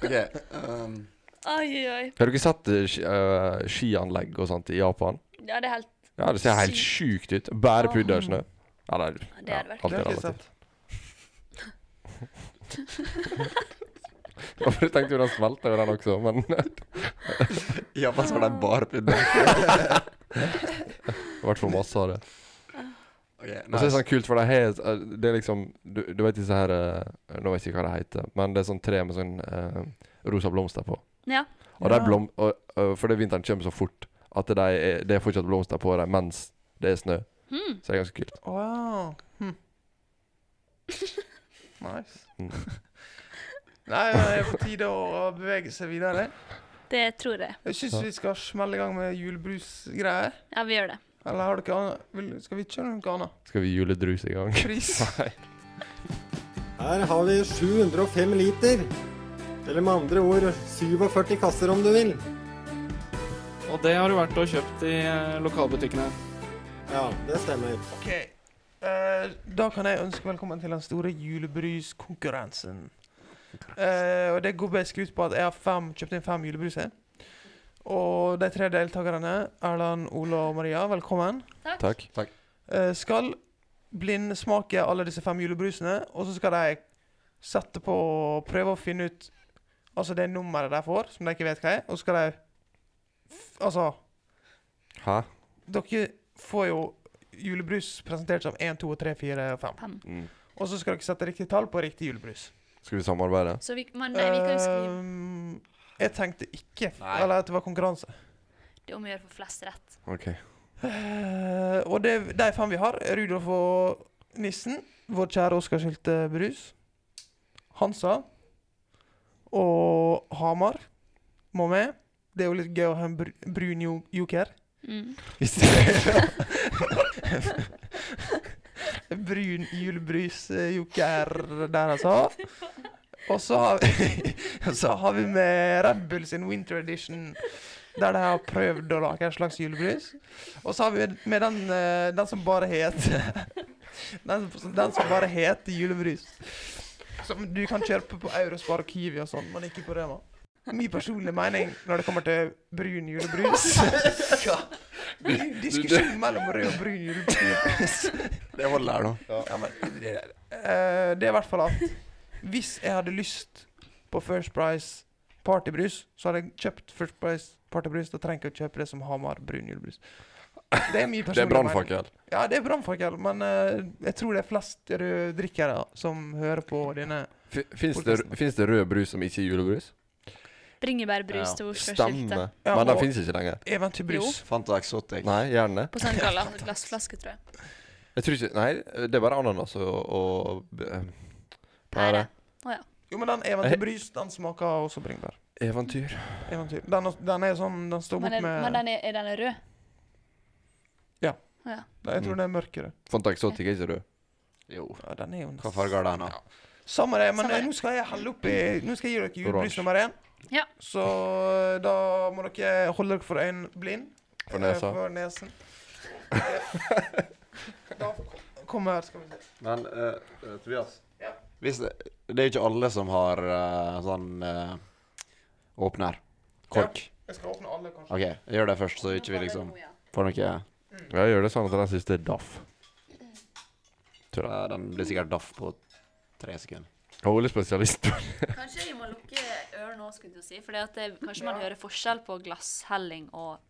Ok, um, Oi, oi, oi. Har du ikke sett eh, ski, eh, skianlegg og sånt i Japan? Ja, det er helt Ja, Det ser helt sjukt ut. Bare puddersnø. Eller Det hadde Det har jeg alt er vært ikke relativt. sett. Hvorfor tenkte jo den smelta jo, den også, men det I Japan så har de bare pudder. har vært for masse av det. Og så Ok, er det nice. sånn kult, for det er, helt, eh, det er liksom du, du vet disse her eh, Nå vet jeg ikke hva det heter, men det er sånn tre med sånn eh, rosa blomster på. Ja. Og de Ja. blom, og, og, for det vinteren kommer så fort at det er, det er fortsatt blomster på dem mens det er snø. Hmm. Så det er ganske kult. Å ja. Hm. Nice. Mm. Nei, det er på tide å bevege seg videre. Det tror jeg. Jeg syns vi skal smelle i gang med julebrusgreier. Ja, vi gjør det. Eller har dere annet? Vil, skal vi kjøre noe annet? Skal vi juledruse i gang? Pris? Nei. Her har vi 705 liter. Eller med andre ord 47 kasser, om du vil. Og det har du vært og kjøpt i eh, lokalbutikkene. Ja, det stemmer. OK. Eh, da kan jeg ønske velkommen til den store julebruskonkurransen. Eh, og det går basically ut på at jeg har fem, kjøpt inn fem julebruser. Og de tre deltakerne, Erland, Ola og Maria, velkommen. Takk. Eh, skal blindsmake alle disse fem julebrusene, og så skal de sette på prøve å finne ut Altså det nummeret de får, som de ikke vet hva er, og så skal de f- Altså, Hæ? dere får jo julebrus presentert som 1, 2, 3, 4, 5. Fem. Mm. Og så skal dere sette riktig tall på riktig julebrus. Skal vi samarbeide? Så vi, men nei, vi kan jo Eh. skrive Ehm, jeg tenkte ikke f- Nei. Eller at det var konkurranse. det er om å gjøre for flest rett. OK. Eh, og det, de fem vi har, er Rudolf og nissen, vår kjære Oskar Skylte Brus, Hansa og Hamar må med. Det er jo litt gøy å ha en br brun jo- joker. Mm. brun julebrusjoker der, altså. Og så har, vi, så har vi med Red Bull sin Winter Edition, der de har prøvd å lage en slags julebrus. Og så har vi med den, eh, den som bare heter den, som- den som bare heter julebrus. Som du kan kjøpe på Eurospar og Kiwi og sånn, men ikke på Rema. Min personlige mening når det kommer til brun julebrus ja. Det er jo diskusjon mellom rød og brun julebrus. Det var det der, da. Ja, men det, eh, det er i hvert fall at hvis jeg hadde lyst på First Price partybrus, så hadde jeg kjøpt First Price partybrus. Da trenger jeg ikke å kjøpe det som Hamar brun julebrus. Det er min Det personlige er brannfakkel. mening. Ja, det er brannfakkel, men eh, jeg tror det er flest røddrikkere som hører på denne. Fins det, finnes det rød brus som ikke er julebrus? Bringebærbrus Ja. til Oslo skilte. Stemme. Ja, Men den og- fins ikke lenger. Eventyrbrus. Fanta Exotic. Nei, gjerne. På sånn gala- glassflaske, tror jeg. Jeg tror ikke Nei, det er bare ananas og, og eh, Pære. pære. Jo, men den eventyrbrus, den smaker også bringebær. Eventyr. Eventyr. Den, den er sånn Den står Men, bort den, men med den er, er den rød? Ja. ja. Jeg tror den er mørkere. Fanta Exotic er ikke rød. Jo. Ja, den er jo Hva farge har den, da? Samme det, men eh, Samme det. nå skal jeg helle oppi Nå skal jeg gi dere julebrus Oransje. nummer én. Ja. Så eh, da må dere holde dere for øynene blind. For Eh, nesa. For nesen. Eh, da kommer Skal vi se. Men eh, Tobias, Ja. hvis det, det er jo ikke alle som har eh, sånn eh, åpner. Kork. Jeg skal åpne alle, kanskje. OK, jeg gjør det først, så ikke vi liksom får noe Ja, jeg gjør det sånn at den siste er daff. Eh, Den blir sikkert daff på tre sekunder. Hovedspesialist. Kanskje vi må lukke ørene òg, skulle jeg til å si. For kanskje man hører forskjell på glasshelling og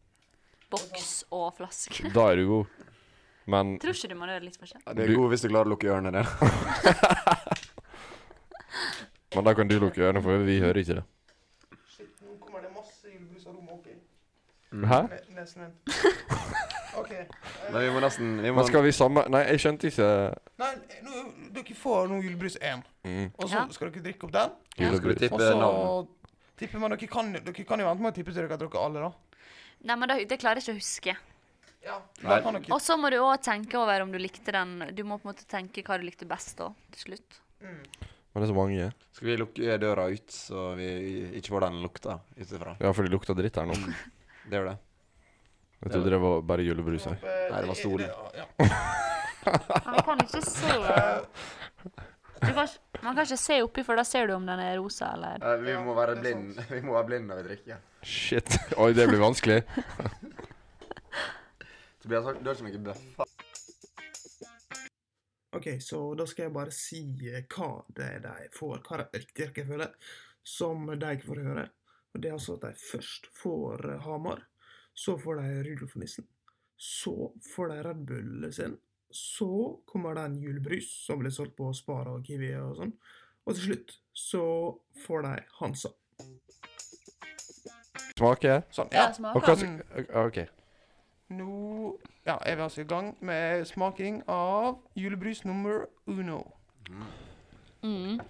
boks og flaske. da er du god. Men Tror ikke du man hører litt forskjell? Det er Du- god hvis du klarer å lukke ørene dine. Men da kan du lukke ørene, for vi hører ikke det. Shit, nå kommer det masse julebrus og rom oppi Hæ? ne- nesen min. OK. Men vi må nesten vi må, Men skal vi samme... Nei, jeg skjønte ikke Nei, nå, dere får nå julebrus én, mm. og så Ja. skal dere drikke opp den. Skal vi julebrus. Og tippe navn? så tipper man Dere kan, dere kan jo vente med å tippe til dere har drukket alle, da. Nei, men det, det klarer jeg ikke å huske. Ja, da Nei. kan dere Og så må du òg tenke over om du likte den. Du må på en måte tenke hva du likte best da, til slutt. Men det er så mange. Skal vi lukke døra ut, så vi ikke får den lukta utenfra? Ja, for det lukter dritt her nå. Det gjør det. Jeg trodde det var bare julebrus her. Nei, det var stolen. Ja. Men vi kan ikke se eh, du kan, ikke- Man kan ikke se oppi, for da ser du om den er rosa eller vi må være blind Vi må være blind når vi drikker. Shit. Oi, det blir vanskelig. Tobias, du har ikke noe bøffa? Ok, så da skal jeg bare si eh, hva det er de får, hva det riktig rekkefølge som de ikke får høre. Og det er altså at de først får eh, Hamar, så får de Rudolf og Nissen, så får de Red Bull sin, så kommer det en julebrus som blir solgt på Spar og Kiwi og sånn, og til slutt så får de Hansa. Smake? Sånn, Ja, Og smaker. hva som- OK. Nå ja, er vi altså i gang med smaking av julebrus nummer uno. Mm.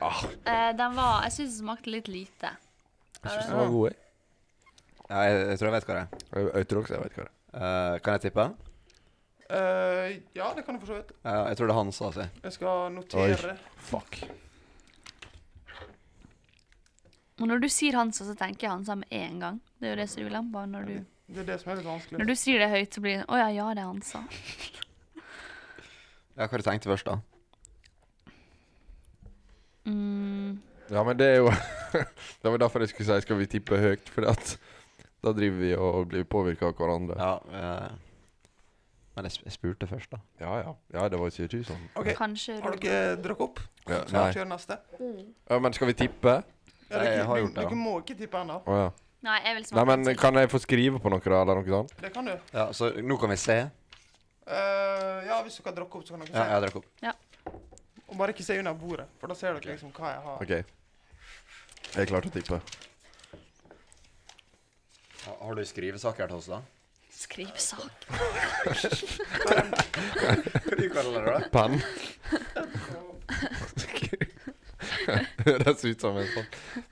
Ah. Eh, den var Jeg syns den smakte litt lite. Syns den var god, jeg. Ja, jeg, jeg tror jeg vet hva det er. Jeg jeg tror også jeg vet hva det er. Eh, kan jeg tippe? Eh, ja, det kan du for så vidt. Ja, jeg tror det er Hansa, altså. Jeg skal notere. Fuck. Og når du sier Hansa, så tenker jeg Hansa med en gang. Det er jo det som er ulempa. Når du, Det er det som er litt vanskelig. når du sier det høyt, så blir det Å ja, ja, det er Hansa. Ja, hva du tenkte først, da? Mm. Ja, men det er jo Det var derfor jeg skulle si skal vi tippe høyt, for at da driver vi og blir påvirka av hverandre. Ja, eh, men jeg, sp- jeg spurte først, da. Ja, ja. Ja, det var ikke du sånn. OK, Kanskje har Rod- dere drukket opp? Ja, Skal nei. jeg kjøre neste? Ja, men skal vi tippe? Ja, Nei, dere, jeg har dere- gjort det, ja. Dere må ikke tippe ennå. Å ja. Nei, jeg vil Nei, smake men den selv. kan jeg få skrive på noe, da, eller noe sånt? Det kan du. Ja, Så nå kan vi se. Eh, ja, hvis dere har drukket opp, så kan dere Ja, se. jeg drakk opp. Og bare ikke se under bordet, for da ser dere liksom hva jeg har. OK. Jeg er klar til å tippe. Ja, Har du skrivesaker til oss, da? Skrivsak. Hva du kaller det, da? Penn. Det Høres ut som en sånn,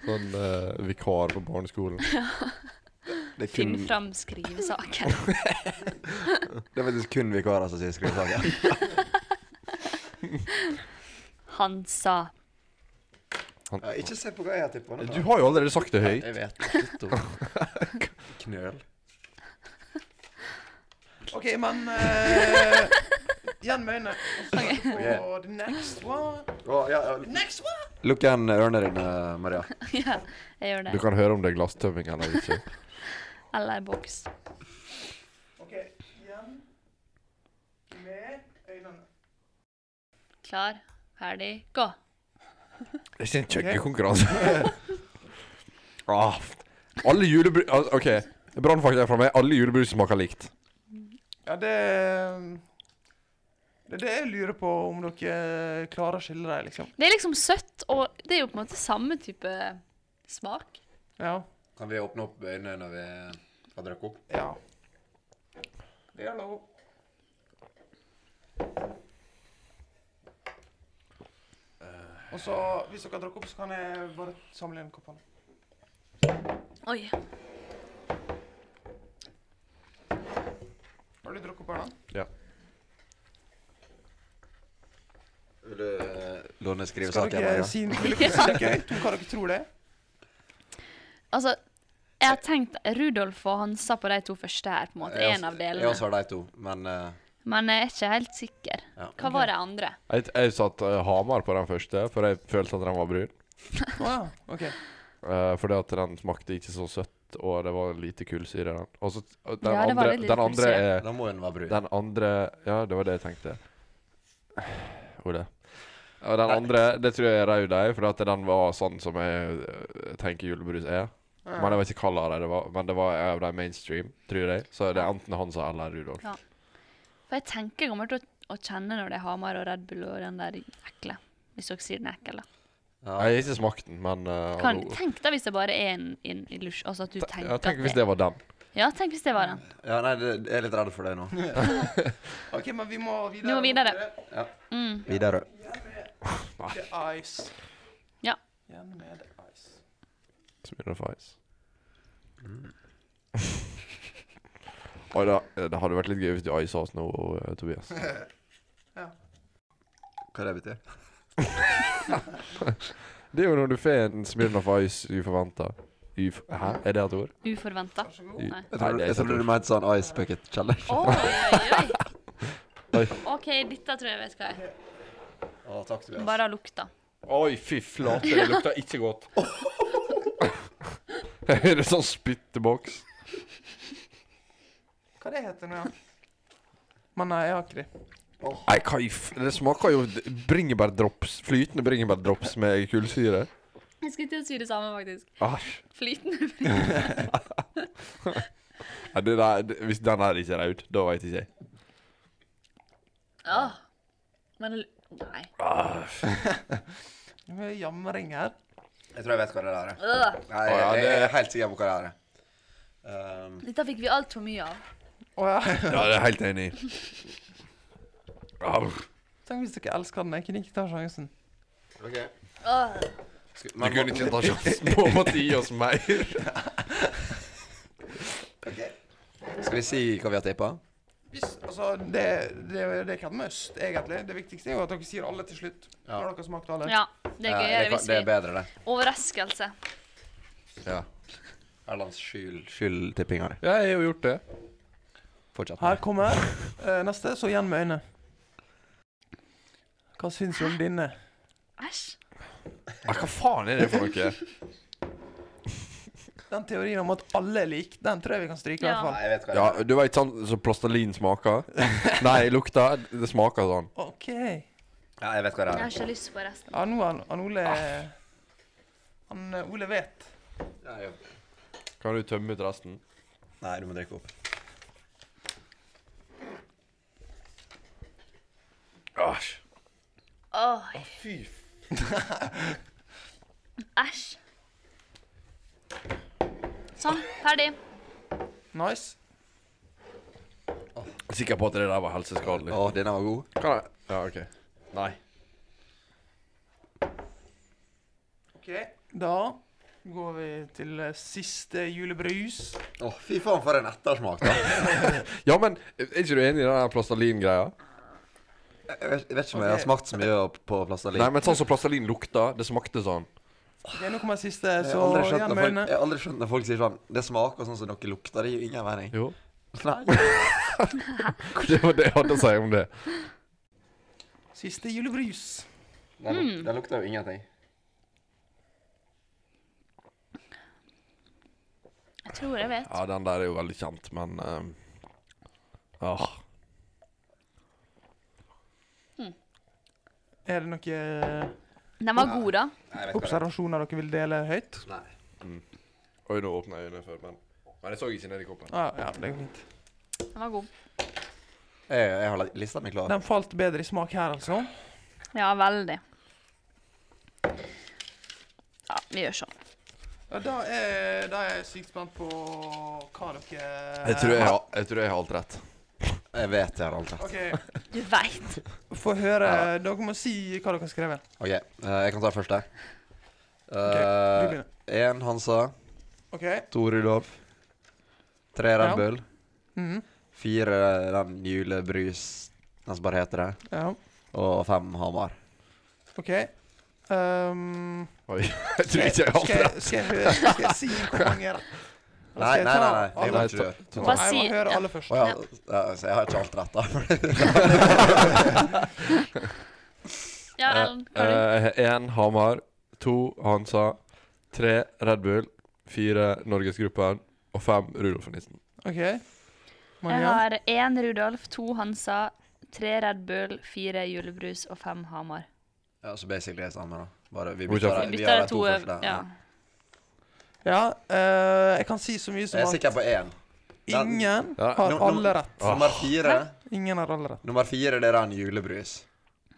sånn eh, vikar på barneskolen. Det er kun, Finn fram skrivesaken. det er faktisk kun vikarer som sier skrivesaker. Hansa. Han, Ja, ikke se på hva jeg har tippa. du har jo allerede sagt det høyt. Jeg vet. Knøl. OK, men eh, Igjen med øynene. Og så er det på the next one. Å, ja, ja. Next one! Lukk igjen ørene dine, Maria. ja, jeg gjør Du det. kan høre om det er glasstømming eller ikke. Eller boks. OK, igjen med øynene. Klar, ferdig, gå. Det er ikke en kjøkkenkonkurranse. ah, alle julebrus al- OK, brannfakta fra meg. Alle julebrus smaker likt. Ja, det Det er det jeg lurer på, om dere klarer å skille dem, liksom. Det er liksom søtt, og det er jo på en måte samme type smak. Ja. Kan vi åpne opp øynene når vi har drukket opp? Ja. Det er lov. Og så, hvis dere drukker opp, så kan jeg bare samle inn koppene. Oi. Har du drukket opp her, da? Vil du eh, låne Skal skrivesaken, dere Maria? si vil dere si noe høyt om hva dere tror det er? Altså, jeg har tenkt Rudolf og Hansa på de to første her, på en måte. Jeg En også- av Jeg delene. også har de to, men eh, Men jeg er ikke helt sikker. Ja. Hva var det andre? Jeg, jeg satt eh, Hamar på den første, for jeg følte at den var brun. Å ja. OK. Eh, fordi at den smakte ikke så søtt, og det var lite kullsyre i den. Og så og den, Ja, det var andre, litt lite den andre kullsyre. er da må den være brun. Den andre Ja, det var det jeg tenkte. Ole. Og den andre, det tror jeg er rød ei, for at den var sånn som jeg eh, tenker julebrus er. Men jeg vet ikke hva det var, men det var en av de mainstream, tror jeg. Så det er enten Hansa eller Rudolf. For jeg tenker jeg kommer til å, å kjenne når det er Hamar og Red Bull og den der ekle. Hvis dere sier den er ekkel, da. Ja. Jeg har ikke smakt den, men eh, Kan, hallo. tenk da hvis det bare er en, en illusjon. Altså at du Te- tenker ja, tenk hvis at det det var den. Ja, tenk hvis det var den. ja, nei, det, jeg er litt redd for det nå. OK, men vi må videre. Vi må videre. Mm. Videre. The ice. Ja. Igjen med the ice. Smil og feis. Mm. Oi, da, eh, det hadde vært litt gøy hvis du isa oss nå, eh, Tobias. Hva det betyr Det er jo når du får en Smirnoff Ice uforventa. Uf Hæ, er det et ord? Uforventa. Vær så god. Nei. Jeg Nei, trodde, det er jeg ikke trodde et du mente sånn ice bucket challenge. Oi, oi, oi. Oi. OK, dette tror jeg jeg vet hva er. Å, takk, Tobias. Bare av lukta. Oi, fy flate, det lukter ikke godt. er det sånn spytteboks? Hva det heter det? Men nei, jeg har ikke det. Nei, hva i f... Det smaker jo d- bringebærdrops. Flytende bringebærdrops med kullsyre. Jeg skulle til å si det samme, faktisk. Æsj. Flytende. Nei, det der- det- Hvis den her ikke er rød, da veit ikke jeg. Åh. Men Nei. Ah, Det er Jamring her. Jeg tror jeg vet hva det der er. Øh. Nei, Å, jeg, ja, jeg, det- er helt sikker på hva det der er. Um, Dette fikk vi altfor mye av. Å ja. Ah, Ja, det er jeg helt enig i. Au. Tenk hvis dere elsker den. Jeg kunne ikke ta sjansen. Okay. Åh. Skal, Du kunne ikke ta sjansen på å måtte gi oss mer. skal vi si hva vi har tippa? Hvis, altså, det, det, det er ikke et must, egentlig. Det viktigste er jo at dere sier alle til slutt. Ja. Når dere har smakt alle. Ja, det er gøyere det, kan- hvis det er vi bedre, det. Overraskelse. Ja. Erlands skyld, skyld tippinga di. Ja, jeg har jo gjort det. Fortsett. Her kommer eh, neste, så igjen med øynene. Hva syns du om denne? Æsj. Ja, hva faen er det for noe? Den teorien om at alle er like, den tror jeg vi kan stryke. i Ja. hvert fall. Nei, jeg vet hva Ja, du veit sånn som plastelin smaker? Nei, lukter. Det smaker sånn. OK. Ja, jeg vet hva det Jeg har er. ikke lyst på resten. Ja, nå han, han Ole Ah. Han eh, Ole vet. Ja, jeg- Kan du tømme ut resten? Nei, du må drikke opp. Æsj. Åh, Fy æsj. Sånn, ferdig. Nice. Sikker på at det der var helseskadelig. Å, denne var god. Kan jeg? Ja, OK. Nei. OK. Da går vi til eh, siste julebrus. Å, fy faen, for en ettersmak, da. Ja, men er ikke du enig i den der plastelin-greia? Jeg vet, jeg vet ikke om jeg har Ok. smakt så mye på plastelin. Nei, men sånn som plastelin lukter, det smakte sånn. Ok, Nå kommer siste, Jeg så eh, har aldri skjønt igjen når med folk, øynene. jeg har aldri skjønt når folk sier sånn Det smaker sånn som dere lukter. Det gir ingen mening. Jo. Nei. Det var det jeg hadde å si om det. Siste julebrus. Det luk- det lukter jo ingenting. Jeg tror jeg vet. Ja, den der er jo veldig kjent, men ehm, ah. Er det noen Den var god, da. Nei, jeg vet hva det er. observasjoner dere vil dele høyt? Nei. Oi, nå åpna jeg øynene før, men Men jeg så ikke ned i koppen. Ah, Ja, ja, det går fint. Den var god. Jeg, jeg har la- lista mi klar. Den falt bedre i smak her, altså. Ja, veldig. Ja, vi gjør sånn. Ja, Da er, da er jeg sykt spent på hva dere Jeg tror jeg, har- jeg tror jeg har alt rett. Jeg vet jeg har alt rett. OK, Du veit. få høre. Dere må si hva dere har skrevet. OK, eh, jeg kan ta Eh, først der. Ok, du Én begynner. Hansa. OK. To Rudolf. Tre Ja. Red Bull. mhm, Fire den julebrus Den som bare heter det. ja, Og fem Hamar. OK. Um, Oi, jeg tror ikke jeg har alt skal, rett. jeg, skal, jeg, høre- skal jeg si hvor mange rett? Eller Nei, skal jeg nei, ta nei. nei. Jeg alle? må ikke gjøre Jeg Bare må si- høre ja. alle først. Å ja, ja, så jeg har ikke alt rett, da. Ja, Ellen, eh, har du? Én Hamar, to Hansa, tre Red Bull, fire Norgesgruppen og fem Rudolf og Nissen. OK. Jeg Maria. har én Rudolf, to Hansa, tre Red Bull, fire julebrus og fem Hamar. Ja, så basically det samme, da. Bare vi Hvor bytter, kjøper- de- Vi vi har bytter de de to første. øv- ja. Ja, eh, jeg kan si så mye som Jeg er at sikker på én. Ja, ingen ja, har nå- nå- alle rett. Ah. Nummer fire Ingen har alle rett. Nummer fire, det er den julebrus.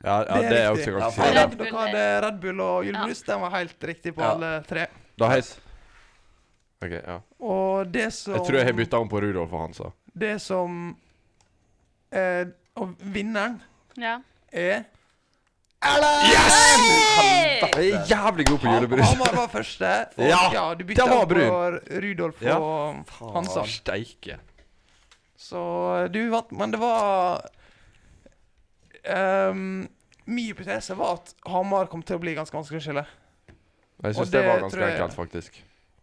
Ja, ja Det er det riktig. er også Ja, ganske faen. sikkert. Red Red Bull, Bull Dere hadde Red Bull og julebrus. Den var helt riktig på Ja. alle tre. Da heit. OK, ja. Og det som Jeg tror jeg har bytta om på Rudolf og Hansa. Det som eh, Og vinneren ja. er Hey! Jeg er jævlig god på julebrus. Hamar var første. og Ja, ja du bytta den var om på brun. Rudolf Ja. og Hansa. Steike. Så du vant. Men det var ehm, Min hypotese var at Hamar kom til å bli ganske vanskelig å skille. Jeg Og syns det, det var tror ganske jeg- enkelt, faktisk.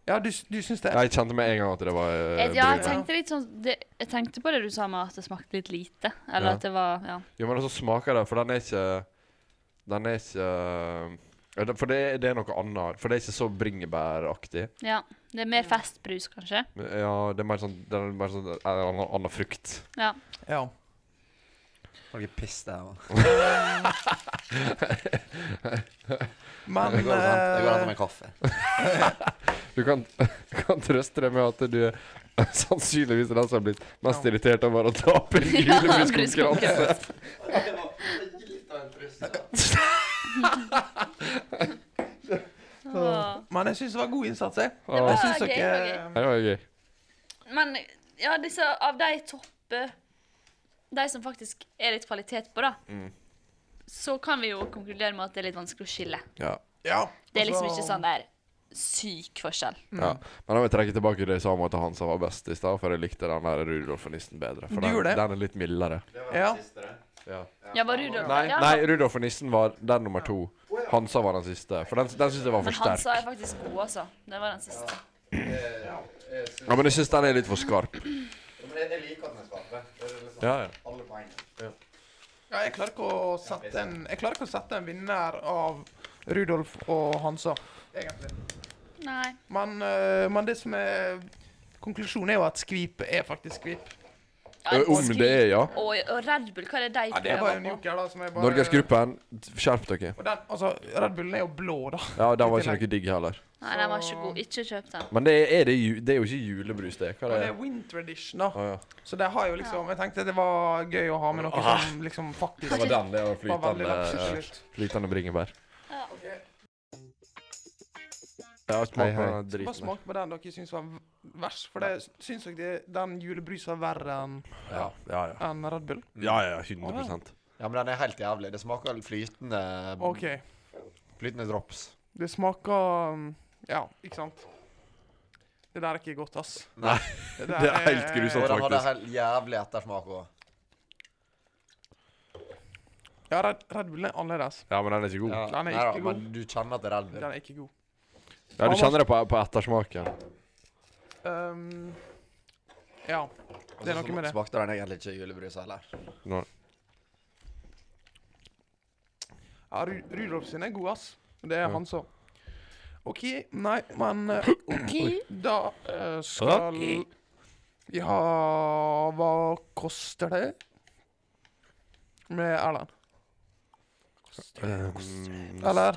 Ja, du, du syns det? Jeg kjente med en gang at det var eh, Ja, jeg brun. tenkte litt sånn det, Jeg tenkte på det du sa med at det smakte litt lite. Eller Ja. at det var Ja. Jo, men så smaker det, for den er ikke Den er ikke eh, ja, det- For det, er- det er noe annet. For det er ikke så bringebæraktig. ja. Det er mer festbrus, kanskje. Men Ja, det er mer sånn Det er mer sånn en annen, annen frukt. Ja. Ja. Noe piss det her, man. Men Det går an det går an eh, til med kaffe. Du kan, kan trøste deg med at du sannsynligvis er den som har blitt mest irritert over å tape en Ja, julebruskonkurranse. Åh. eh, Men jeg syns det var god innsats, jeg. Ja. Jeg syns Det var gøy, dere det Det var gøy. Men ja, disse, Mm. av de toppe De som faktisk er litt kvalitet på, da, så kan vi jo konkludere med at det er litt vanskelig å skille. Ja. Ja. Det er liksom altså- ikke sånn der syk forskjell. Mm. ja. Men da vil jeg trekke tilbake det jeg sa om at Hansa var best i stad, for jeg likte den der Rudolf-nissen bedre. Du For den, gjorde det. den er litt mildere. Ja. Ja. Ja, var Rudolf Nei, ja. nei Rudolf-nissen var den nummer to. Hansa var den siste. For den, den syns jeg var Men for sterk. han sa jeg faktisk god, altså. Det var den siste. Ja, Men jeg syns den er litt for skarp. Jeg liker at den er skarp. Ja, ja. Alle poengene. Ja, jeg klarer ikke å sette en Jeg klarer ikke å sette en vinner av Rudolf og Hansa, egentlig. Nei. Men, eh, men det som er Konklusjonen er jo at skvip er faktisk skvip. Ø, Om det er, ja. Og, og Red Bull, hva er det de Ja, det er bare en prøver på? joker, da, som er bare Norgesgruppen, skjerp dere. Og den, altså, Red Bullen er jo blå, da. Ja, den var ikke noe digg heller. Nei, den var ikke god. Ikke kjøp den. Men det er, er det, ju- det er jo ikke julebrus, det. Hva Og er det det? er winter edition, da. Å, ja. Så det har jo liksom Jeg tenkte det var gøy å ha med noe som liksom faktisk Ah. Det var den, eh, det var var veldig flytende, lapsuslytt. flytende bringebær. Ja. Jeg har Hei, smakt på hei. den Bare driten. der. smak på den dere syns var v- verst. For det syns dere det- den julebrusen var verre enn Ja, ja, ja. enn Red Bull? Ja, ja, 100 Ja, men den er helt jævlig. Det smaker flytende OK. Flytende drops. Det smaker um, Ja, ikke sant? Det der er ikke godt, ass. Nei, Det, det er helt grusomt. Og Ja, den hadde faktisk. helt jævlig ettersmak òg. Ja, Red, Red Bullen er annerledes. Ja, men den er ikke god. Den er ikke god. Men du kjenner at det er Red Den Bull. er ikke god. Ja, Du kjenner det på, på ettersmaken. Um, ja. Altså, Det er Og så noe med det. Smakte den egentlig ikke julebrus heller. Nå. ja Ru Rudolf sin er god, ass. Det er han så. OK. Nei, men eh, OK, da eh, skal vi ha Hva koster det? Med Erlend. Um, Eller?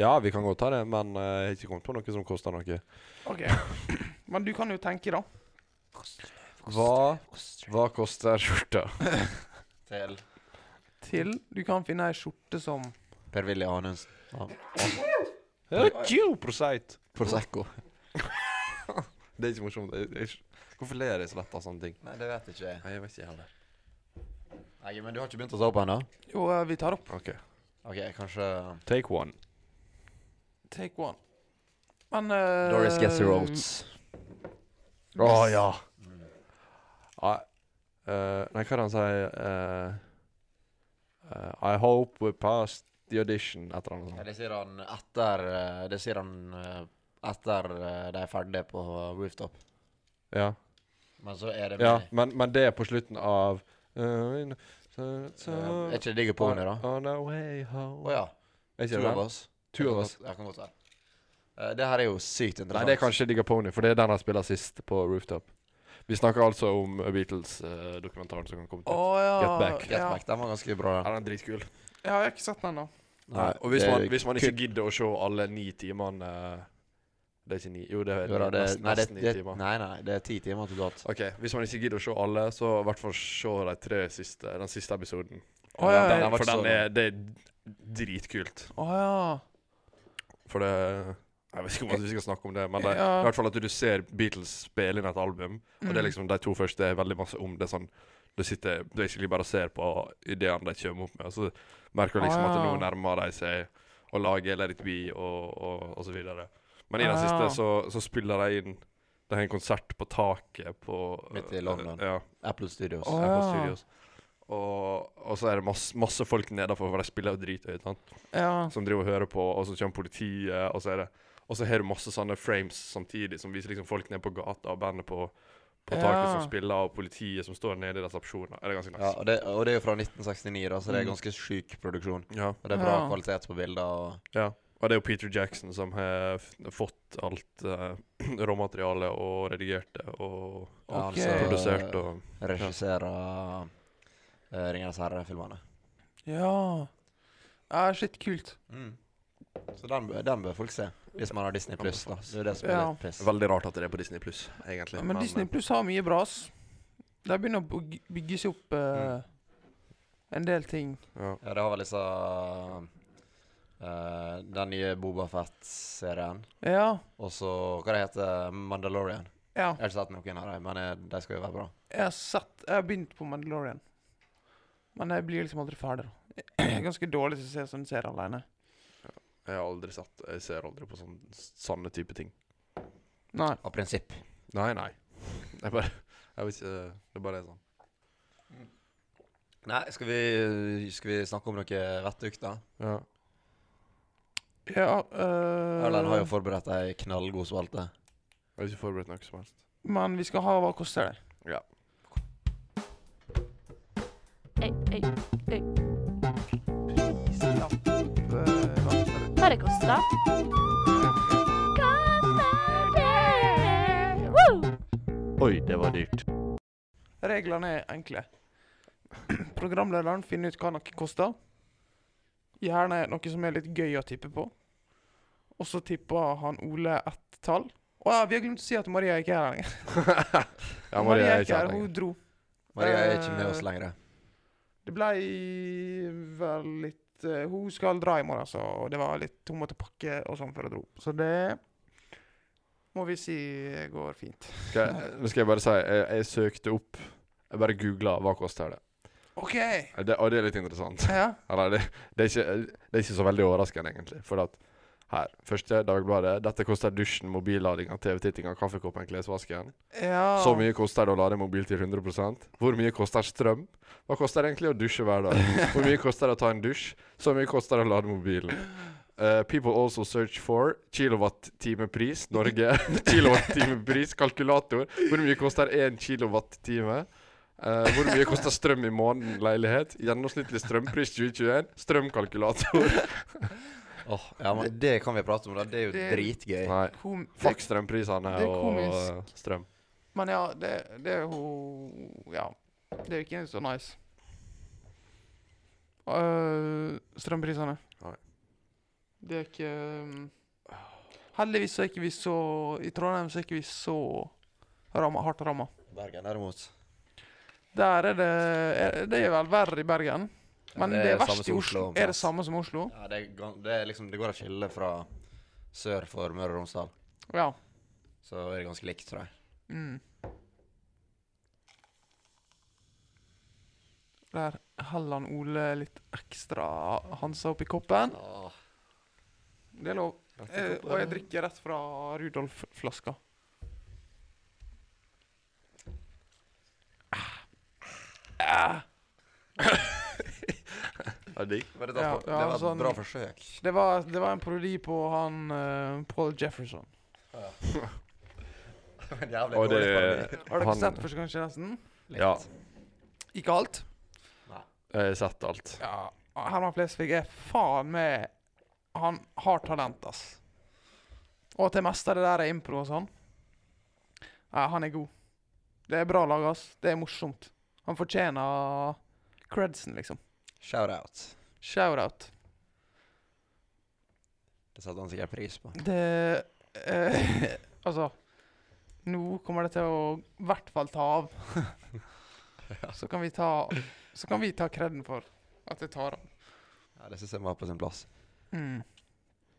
ja, vi kan godt ta det, men eh, jeg har ikke kommet på noe som koster noe. OK. Men du kan jo tenke, da. Hva, hva koster skjorta? Til Til du kan finne ei skjorte som Per-Willy Anundsen. Ja, 20 prosent. Prosecco. Det er ikke morsomt. Jeg, jeg, hvorfor ler jeg så lett av sånne ting? Nei, det vet ikke jeg. Nei, jeg vet ikke heller. Nei, men du har ikke begynt å ta opp ennå? Jo, eh, vi tar opp. OK. OK, kanskje um, Take one. Take one. Men eh, Doris gets the roads. Å ja. Mm. I, eh, nei, hva er det han sier? Eh, eh, I hope we passed the audition, et eller annet Ja, sånt. det sier han etter eh, Det sier han eh, etter eh, de er ferdige på rooftop. Ja, Men så er det ja med- men, men det er på slutten av uh, so, so, Eh, Er ikke det digge pony, da? Å On our way home. ja. Er ikke det Two of den? us. Two of us. Jeg kan godt være. Eh, Det her er jo sykt Nei, interessant. det er kanskje Digga Pony, for det er den han spiller sist på Rooftop. Vi snakker altså om Beatles-dokumentaren som kan komme Å til. ja. Get back. Get Back, den var ganske bra, den. Er den dritkul? Ja. Jeg har ikke sett den ennå. Nei, og hvis det er man, hvis man ikke kun- gidder å se alle ni timene eh, Det er ikke ni Jo, det er Jo da, det, nesten, nei, det, nesten ni det, timer. nei, nei, det er ti timer totalt. Ok, Hvis man ikke gidder å se alle, så i hvert fall se de tre siste, den siste episoden. Å ja, den, ja. for så den er, det er dritkult. Å ja. For det Jeg vet ikke om at vi skal snakke om det, men det, Ja. i hvert fall at du, du ser Beatles spille inn et album, og Mm. det er liksom de to første er veldig masse om det er sånn Du sitter basically bare og ser på ideene de kommer opp med, og så merker du liksom at nå Ah. nærmer de seg å lage Let it be og, og, og så videre. Men i den Ah. siste så, så spiller de inn De har en konsert på taket på eh, Midt i London. Ja, Apple Studios. Å, Apple ja. Studios. Og, og så er det masse, masse folk nedafor, for de spiller jo drithøyt. sant? Mm, Ja. som driver og hører på, og så kommer politiet, og så er det Og så har du masse sånne frames samtidig som viser liksom folk nede på gata, og bandet på, på Ja. taket som spiller, og politiet som står nede i resepsjonen. Det er ganske Ja, nice. og, det, og det er jo fra 1969, da, så det Mm. er ganske sjuk produksjon. Ja. Og det er bra Ja. kvalitet på bilder. Og, ja. Og det er jo Peter Jackson som har f fått alt uh, råmaterialet og redigert det og ja, Ok. altså, produsert og regisserer eh, Ringenes herre-filmene. Ja. ja shit, kult. Mm. Så den, bø- den bør folk se, hvis man har Disney pluss. da. Det er det som er Ja. litt piss. Veldig rart at det er på Disney pluss, egentlig. Men Disney Pluss har mye bra, ass. De begynner å byg- bygge seg opp eh, en del ting. ja. Ja, det har vel liksom eh, Den nye Boba Fett-serien. Ja. Og så hva det heter Mandalorian. Ja. Jeg har ikke sett noen av dem, men eh, de skal jo være bra. Jeg har sett Jeg har begynt på Mandalorian. Men jeg blir liksom aldri ferdig, da. Jeg er ganske dårlig til å se sånne serier alene. Jeg har aldri satt Jeg ser aldri på sånne sanne type ting. Nei. Av prinsipp. Nei, nei. Jeg bare Jeg vet ikke eh, Det bare er sånn. Nei, skal vi, skal vi snakke om noe vettug, da? Eh. Ja. Ja, øh, Erlend har jo forberedt ei knallgod spalte. Jeg har ikke forberedt noe som helst. Men vi skal ha Hva koster det? Ja. Ei, ei, Øh, hva det koster? Koster det? Woo! Oi, det var dyrt. Reglene er enkle. Programlederen finner ut hva noe koster. Gjerne noe som er litt gøy å tippe på. Og så tipper han Ole ett tall. Å ja, vi har glemt å si at Maria ikke er her lenger. Ja, Maria er ikke her lenger. hun dro. Maria er ikke med oss Eh, lenger. Det ble vel litt eh, Hun skal dra i morgen, altså. Og det var litt Hun måtte pakke og sånn før hun dro. Så det må vi si går fint. Skal jeg, eh, nå skal jeg bare si Jeg, jeg søkte opp Jeg bare googla 'hva koster det'? Eh, OK. det. Og det er litt interessant. Ja. Eller, det, det, er ikke, eh, det er ikke så veldig overraskende, egentlig. For at her Første Dagbladet. Dette koster dusjen, mobilladinga, TV-tittinga, kaffekoppen, klesvasken. ja. Så mye koster det å lade mobil til 100 Hvor mye koster strøm? Hva koster det egentlig å dusje hver dag? Hvor mye koster det å ta en dusj? Så mye koster det å lade mobilen. Eh, people also search for kilowatt-timepris Norge. kilowatt-timepris kalkulator. Hvor mye koster én kilowatt-time? Eh, hvor mye koster strøm i måneden leilighet? Gjennomsnittlig strømpris 2021. Strømkalkulator. Åh, ja, men Det kan vi prate om, da. Det er jo Det- dritgøy. Nei. Kom, Fuck strømprisene Det er og eh, komisk. strøm. Men ja, det, det er hun Ja. Det er ikke så nice. Øh, strømprisene. Nei. Det er ikke um, Heldigvis så er ikke vi så I Trondheim så er ikke vi så ramma, hardt ramma. Bergen derimot. Der er det er, Det er vel verre i Bergen. Men det, det er er det samme verst i som Oslo. Oslo, Er det plass. samme som Oslo? Ja, det, er gan- det, er liksom, det går å skille fra sør for Møre og Romsdal. Ja. Så er det ganske likt, tror jeg. Mm. Der heller han Ole litt ekstra Hansa oppi koppen. Det er lov. Eh, og jeg drikker rett fra Rudolf-flaska. Ja, digg. Men det, Ja, var- ja, det var et sånn- bra forsøk. Det var, det var en parodi på han eh, Paul Jefferson. Men jævlig Og det dårlig parodi. Har dere han- sett første kanskje nesten? Ja. Ikke alt. Jeg har sett alt. Ja. Herman Flesvig er faen meg Han har talent, ass. Og at det meste av det der er impro og sånn. Ja, han er god. Det er bra laga, ass. Det er morsomt. Han fortjener credsen, liksom. Shout-out. Shout-out. Det satte han sikkert pris på. Det eh, Altså Nå kommer det til å i hvert fall ta av. så kan vi ta Så kan vi ta kreden for at det tar av. Ja, Det syns jeg var på sin plass. Mm.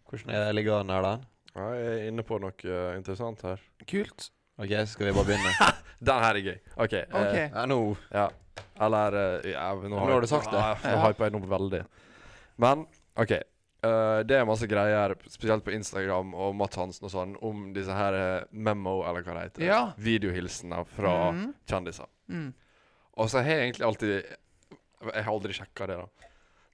Hvordan er Eh, ligger han her, da? Ja, jeg er inne på noe eh, interessant her. Kult. OK, så skal vi bare begynne. Den her er gøy. OK. eh, OK. Ja, nå ja. Eller eh, ja, nå, har du sagt det. Ja, Nå Ja. hyper jeg nå veldig. Men OK. eh, det er masse greier, spesielt på Instagram og Matt Hansen og sånn, om disse her eh, memo, eller hva det heter. Ja. Videohilsener fra Mhm. kjendiser. Mm. Og så har jeg egentlig alltid Jeg har aldri sjekka det, da.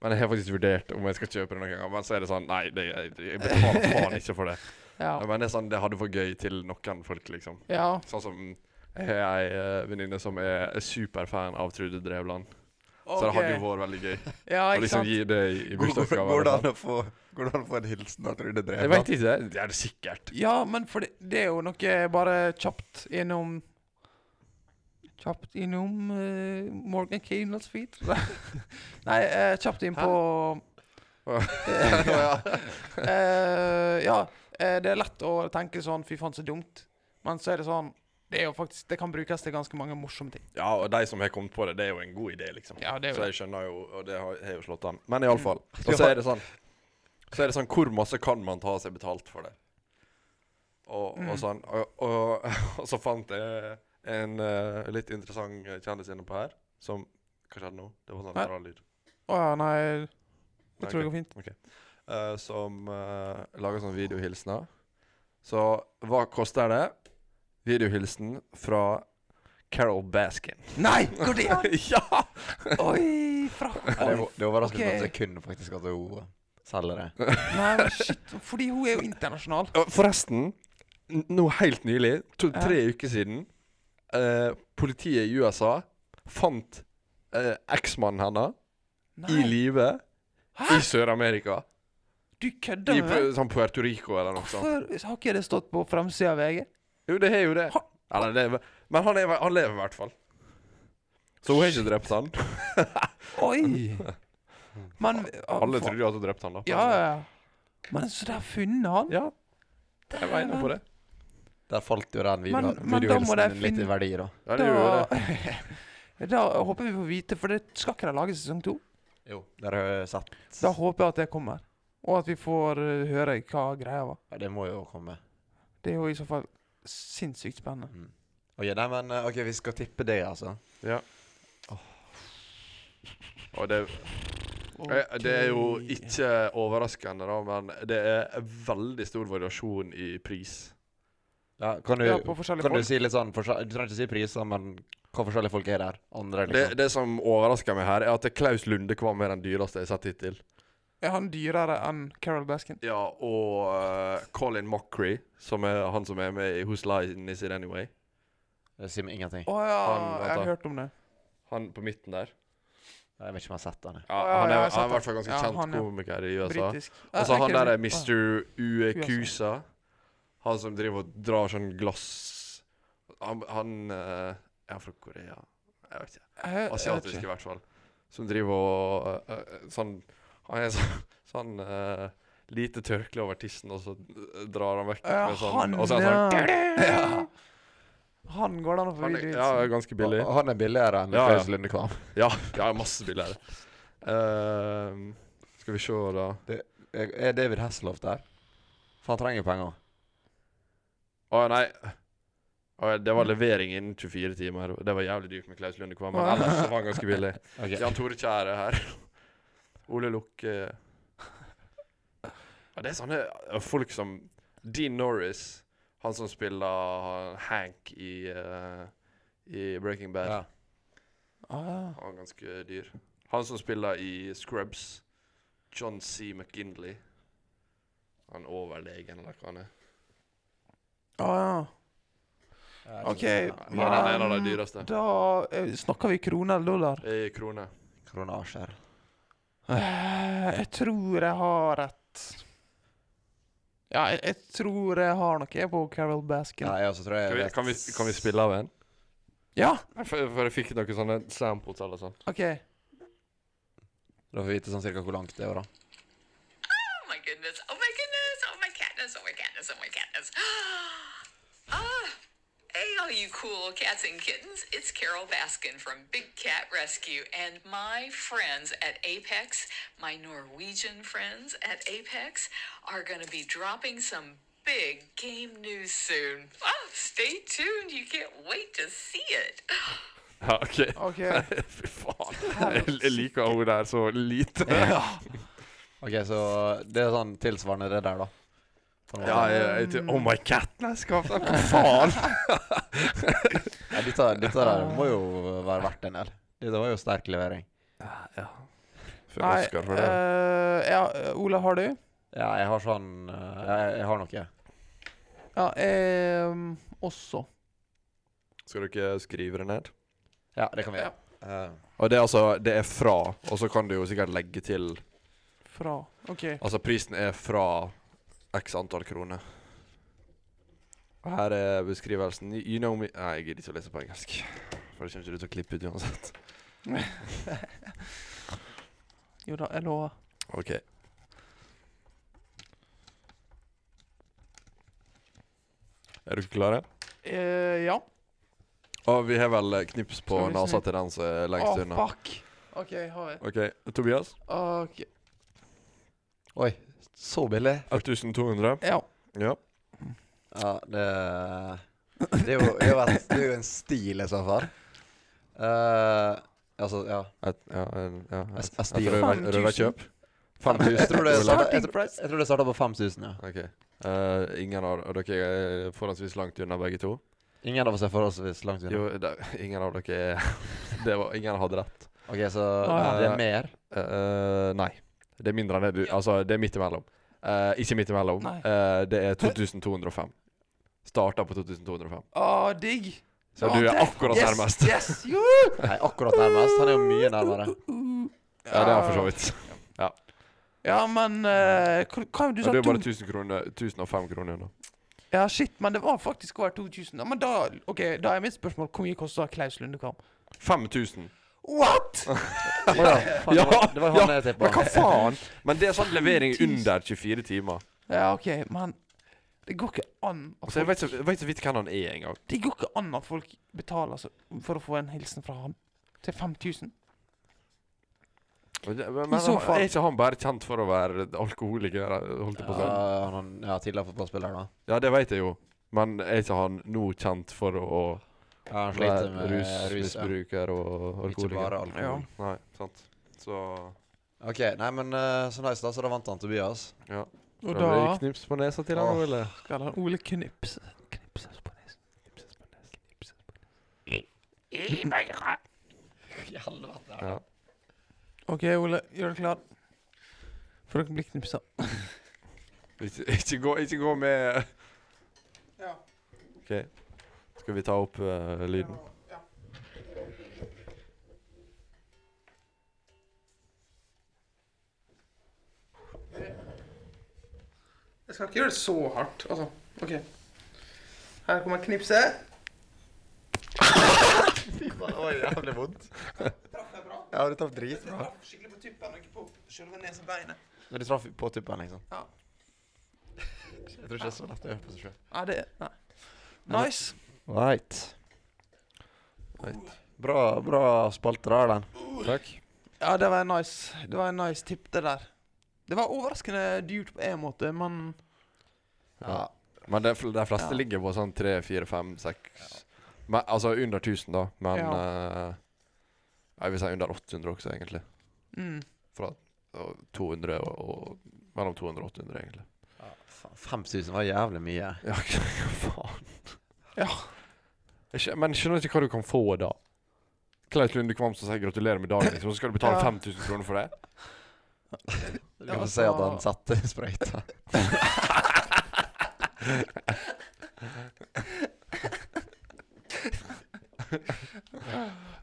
Men jeg har faktisk vurdert om jeg skal kjøpe det noen gang. Men så er det sånn Nei, det, jeg, jeg betaler faen ikke for det. Ja. Men det er sånn, det hadde vært gøy til noen folk, liksom. ja. Sånn som jeg har ei eh, venninne som er superfan av Trude Drevland. Så det hadde jo vært veldig gøy Ja, å ikke liksom sant? gi det i, i Går går- bursdagsgave. går det eller an noe sånt. å få Går det an å få en hilsen av Trude Jeg Drevland? veit ikke. Det er det sikkert. Ja, men for det, det er jo noe bare kjapt innom Kjapt innom eh, Morgan Canals feed. Nei, eh, kjapt inn på Eh, Ja, eh, det er lett å tenke sånn 'fy faen, så dumt', men så er det sånn Det er jo faktisk, det kan brukes til ganske mange morsomme ting. Ja, og de som har kommet på det, det er jo en god idé, liksom. Ja, det er jo det. så Mm. jeg skjønner jo, og det har har jo slått an. Men iallfall. Og så er det sånn Så er det sånn Hvor masse kan man ta seg betalt for det? Og, Mm. og sånn. Og, og, og så fant jeg en eh, litt interessant kjendis inne på her, som Hva skjedde nå? Det var sånn Nei. rar lyd. Å ja, nei Nei, Jeg tror det ok. går fint. Eh, som eh, lager sånn sånne videohilsener. Så hva koster det? Videohilsen fra Carol Baskin. Nei! Går det an? ja! Oi! Fra Ja, det, det overrasker meg Ok. på et sekund faktisk at hun selger det. Nei, men shit. Fordi hun er jo internasjonal. Og Forresten, n- nå helt nylig, to, tre uker siden, eh, politiet i USA fant eh, eksmannen hennes i Nei, live i Hæ? Sør-Amerika. du I kødder med Pu- meg? sånn Puerto Rico eller noe sånt. Hvorfor har ikke det stått på framsida av VG? Jo, det har jo det. Eller, det er- men han, er, han lever i hvert fall. Så hun har ikke drept han. Oi! Men å, Alle faen. trodde jo at hun drepte han, da. Ja, ja. Men så de har funnet han? Ja, jeg var inne på det. Der falt jo den video, Men- men da må videohilsen de din litt i finne- verdi, da. Ja, det gjorde det. Da, da håper vi får vite, for det skal ikke de lage sesong to? Jo, der har jeg sett. Da håper jeg at det kommer. Og at vi får eh, høre hva greia var. Ja, det må jo komme. Det er jo i så fall sinnssykt spennende. Ok, nei, men eh, ok, vi skal tippe det, altså. Ja. Og det, eh, det er jo ikke overraskende, da, men det er veldig stor variasjon i pris. Ja, Eh, kan du, Ja, på forskjellige kan du folk. si litt sånn forskjell- Du trenger ikke si priser, men hva forskjellige folk er der? Andre, Det, liksom. det som overrasker meg her, er at Klaus Lundekvam er den dyreste jeg har sett hittil. Er han dyrere enn Carol Baskin? Ja, og eh, Colin Mockery, som er han som er med i Whose Line Is It Anyway. Det sier meg ingenting. Å ja, Han- altså, jeg vent da. har hørt om det. Han på midten der. Jeg vet ikke om jeg har sett den. jeg. Ja, Å, ja, han ja, er, jeg har sett han er i hvert han. fall ganske Ja, kjent han, ja. komiker i USA. Britisk. altså. Og så Eh, han ikke- der Å, ja. er Mr. Uekusa. Han som driver og drar sånn glass Han, han eh, er fra Korea. Jeg vet ikke. Jeg- jeg vet Asiatisk, ikke. i hvert fall. Som driver og eh, eh, Sånn Han er sånn, sånn eh, lite tørkle over tissen, og så eh, drar han vekk Ja, med sånn han, Og så er han sånn ja. Han går det an å få han, er- video Ja, er ganske billig. Og- og Han er billigere enn Ja, ja. Klaus Lundekvam. Ja, ja masse billigere. Ehm, skal vi se, da. Er er David Hasselhoff der? For han trenger penger. Å nei. Å, det var levering innen 24 timer. Det var jævlig dyrt med Klaus Lunde Kvam, men Å, ja. ellers så var han ganske billig. Ok. Jan Tore Kjære er her. Ole eh. Lukke ja, Det er sånne eh, folk som Dean Norris, han som spiller Hank i, eh, i Breaking Bad. Ja. Ah, Han er ganske dyr. Han som spiller i Scrubs, John C. McGinley. Han overlegen, eller hva han er. ah, Ja, OK. Han er en av de dyreste. Da eh, snakker vi krone eller dollar. I kroner. Kronasjer. Eh, Jeg tror jeg har et Ja, jeg, jeg tror jeg har noe jeg, på Carol Baskin. Nei, altså, tror jeg Kan vi, vet- kan, vi, kan vi spille av en? Ja, For, for jeg fikk noen sånne samples eller sånn. OK. Da får vi vite sånn cirka hvor langt det er, da. Oh my goodness. Oh my goodness. Oh my catness. Oh my catness. Oh my catness. Ah. Hey, all you cool cats and kittens. It's Carol Baskin from Big Cat Rescue and my friends at Apex, my Norwegian friends at Apex, are going to be dropping some big game news soon. Oh, stay tuned. You can't wait to see it. Ja, OK. ok Fy faen. Jeg, jeg liker henne der så lite. Ok, så det er sånn tilsvarende det der, da. På en måte. Ja, jeg, jeg, Mm. tror- oh my cat, nei, skal jeg Hva faen? Ja, dette, dette der må jo være verdt en del. Dette var jo sterk levering. Før Nei, Oscar for det. eh, ja, Ola, har du? Ja, jeg har sånn eh, Jeg, jeg har noe. Ja, eh, også. Skal dere skrive det ned? Ja, det kan vi gjøre. Eh, Og det er altså Det er fra, og så kan du jo sikkert legge til Fra OK. Altså, prisen er fra x antall kroner. Og her er beskrivelsen. You- You know me Nei, jeg gidder ikke å lese på engelsk. For det kommer ikke du til å klippe ut uansett. Jo da, jeg lover. OK. Er dere klare? Eh, ja. Og vi har vel eh, knips på Skal vi nesa snu? til den som er Å, lengst unna. Ah, fuck. OK, har vi. OK. Tobias? Ok, Oi, så billig. 1200? Ja. Ja. Ja, det Det er jo, det er jo, et, det er jo en stil i så fall. Eh, Altså, ja. Et, ja, en, ja, Jeg- Altså, et, jeg et stiger. røver, 5000. røverkjøp. 5000? Jeg tror det Hvor langt? starta- jeg tror- jeg tror det starta på 5000, ja. Ok. Eh, ingen av og dere er forholdsvis langt unna, begge to. Ingen av oss er forholdsvis langt unna. Jo, det, ingen av dere er det var, Ingen hadde rett. Ok, så Ah, ja. det er mer. Eh, nei. Det er mindre enn det du Altså, det er midt imellom. Eh, ikke midt imellom. Nei. Eh, det er 2205. Starta på 2205. Å, Ah, digg. Så Å, du er treff. akkurat yes, nærmest. Yes, jo. Nei, akkurat nærmest. Han er jo mye nærmere. Ja, det er han for så vidt. Ja, men eh, hva, hva du Og sa? du er bare to- 1000 kroner, 1005 kroner unna. Ja, shit, men det var faktisk over 2000. Ja, men da ok, da er mitt spørsmål hvor mye kosta Klaus Lundekvam? 5000. What?! Faen, det var- det var han jeg tippa. men hva faen? Men det er sånn levering under 24 timer. Ja, OK, men det går ikke an at Altså, jeg folk, vet så- jeg vet så vidt hvem han er engang. det går ikke an at folk betaler så, for å få en hilsen fra han til 5000. Men, men så han- fall. er ikke han bare kjent for å være alkoholiker? Holdt jeg på å si. Ja, han, ja, tidligere fotballspiller, da. Ja, det vet jeg jo. Men er ikke han nå kjent for å Ja, han sliter være med rus. ja. rusmisbruker og Ikke alkoholiker? bare alkohol. Ja. Nei, sant. Så Ok, nei, men eh, så nice, da. Så da vant han Tobias. Og da blir det da knips på nesa til han, Åh. Ole. skal han Ole knipse Knipses på nesen. Ja. OK, Ole, gjør deg klar. For dere blir knipsa. Ikke, ikke, gå, ikke gå med Ja. OK. Skal vi ta opp eh, lyden? Jeg skal ikke gjøre det så hardt. Altså, OK. Her kommer knipset. Det var jævlig vondt. Ja, du traff dritbra. Skikkelig på tuppen og ikke på selve nesebeinet. Men du traff på tuppen, liksom. Ja. Jeg tror ikke det er så lett å gjøre på seg sjøl. Ja, det Nei. Nice. Right. Right. Bra, bra spalte der, den. Takk. Ja, det var en nice Det var en nice tipp, det der. Det var overraskende dyrt på en måte, men Ja. Men de, fl- de fleste Ja. ligger på sånn tre, fire, fem, seks Men, Altså under 1000, da. Men eh, Jeg vil si under 800 også, egentlig. mm. Fra og 200 og, og Mellom 200 og 800, egentlig. Faen, 5000 var jævlig mye. Ja, hva faen? Ja. Jeg skjø- men jeg skjønner ikke hva du kan få da. Klaus Lunde Kvam som sier 'gratulerer med dagen', liksom, og så skal du betale Ja. 5000 kroner for det? Du Ja, kan si at han altså- satte sprøyta.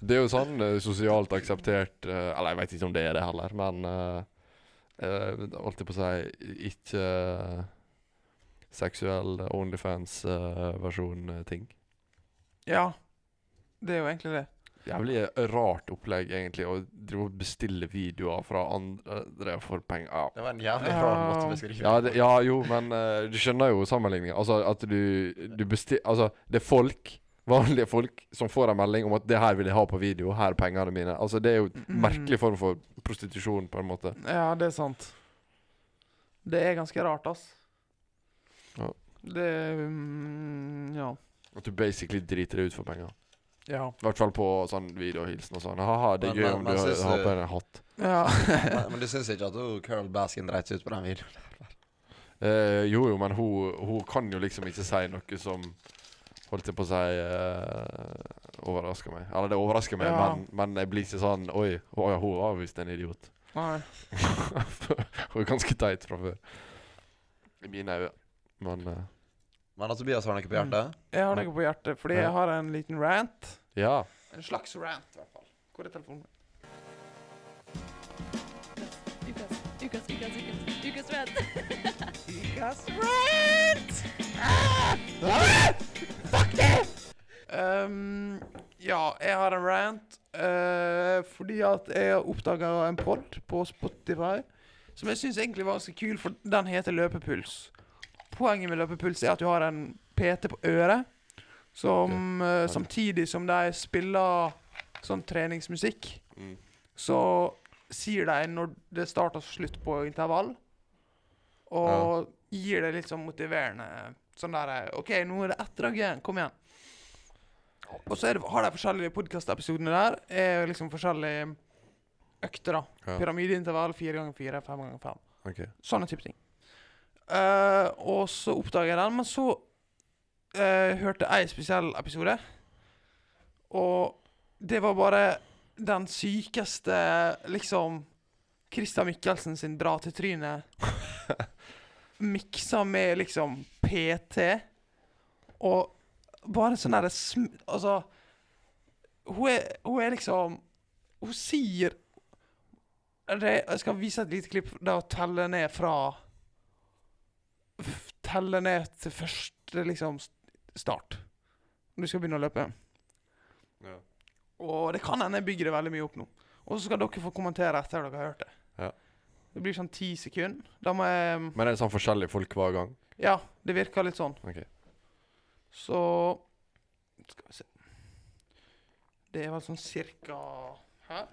Det er jo sånn eh, sosialt akseptert eh, Eller jeg vet ikke om det er det heller, men eh, eh, Holdt jeg på å si ikke eh, seksuell eh, Onlyfans-versjon-ting. Ja. Det er jo egentlig det. Jævlig eh, rart opplegg, egentlig, å drive og bestille videoer fra andre for penger. Ja. Det var en jævlig Ja. rar måte å beskrive Ja, det, ja, jo, men eh, du skjønner jo sammenligningen. Altså, at du, du besti... Altså, det er folk, vanlige folk, som får en melding om at 'det her vil jeg ha på video', 'her er pengene mine'. Altså, det er jo en Mm. merkelig form for prostitusjon, på en måte. Ja, det er sant. Det er ganske rart, ass. Ja. Det mm, Ja. At du basically driter deg ut for penger. Ja. I hvert fall på sånn videohilsen og sånn. Ha-ha, det er Men- gøy men- om men du har, synes har du- på deg en hatt. ja. Men, men du syns ikke at hun Carol Baskin dreit seg ut på den videoen? Eh, jo, jo, men hun, hun kan jo liksom ikke si noe som Holdt jeg på å si eh, Overrasker meg. Eller det overrasker meg, Ja. men, men jeg blir ikke sånn Oi, å ja, hun var visst en idiot. Nei. hun er ganske teit fra før. I mine øyne. Men eh, Men at Tobias har noe på hjertet? Jeg har noe på hjertet, fordi jeg har en liten rant. ja. En slags rant, i hvert fall. Hvor er telefonen min? Ukas, ukas, ukas, ukas rant. Ah! Ehm, ja, jeg har en rant eh, fordi at jeg oppdaga en pod på Spotify som jeg syns egentlig var ganske kul, for den heter Løpepuls. Poenget med løpepuls er at du har en PT på øret som eh, samtidig som de spiller sånn treningsmusikk, Mm. så sier de når det starter og slutt på intervall, og gir deg litt sånn motiverende sånn der eh, OK, nå er det ett drag igjen. Kom igjen. Og så er det, har de forskjellige podkastepisodene der. Er liksom forskjellige økter, da. Ja. Pyramideintervall, fire ganger fire, fem ganger fem. Ok. Sånne type ting. Eh, og så oppdager jeg den, men så eh, hørte jeg en spesiell episode. Og det var bare den sykeste, liksom Christian Michelsen sin dra til trynet. Miksa med liksom PT. Og bare sånn derre sm... Altså hun er, hun er liksom Hun sier det, jeg skal vise et lite klipp der hun teller ned fra f- Teller ned til første liksom s- start. Når du skal begynne å løpe. Ja. Og det kan hende jeg bygger det veldig mye opp nå. Og så skal dere få kommentere etter dere har hørt det. Ja. Det blir sånn ti sekunder. Da må jeg Men er det sånn forskjellige folk hver gang? Ja, det virker litt sånn. Ok. Så Skal vi se Det er vel sånn cirka Her.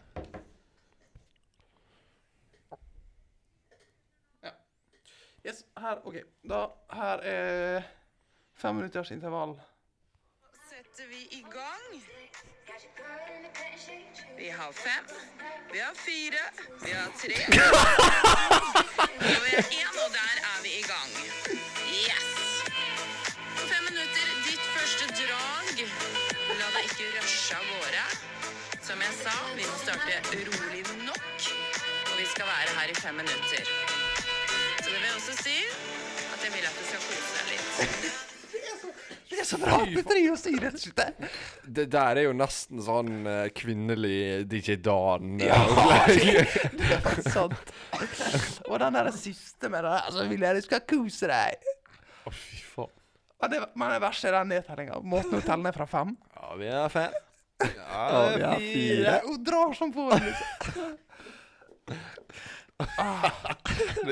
Ja. Yes, her. OK. Da Her er fem minutters intervall. setter vi i gang. Vi har fem, vi har fire, vi har tre. Og vi har én, og der er vi i gang. Yes! På fem minutter, ditt første drag. La deg ikke rushe av gårde. Som jeg sa, vi må starte rolig nok, og vi skal være her i fem minutter. Så det vil jeg også si at jeg vil at du skal kose deg litt. Det er så bra! Det driver og sier det skittet. Det der er jo nesten sånn eh, kvinnelig DJ Dan. eh, Det er faktisk sant. Og den der siste med det der Altså, vil jeg du skal kose deg. Å, fy faen. Ja, det, men det verste er den nedtellinga. Måten å telle ned fra fem. Ja, vi er fem. Ja, vi har fire. Hun drar som på den.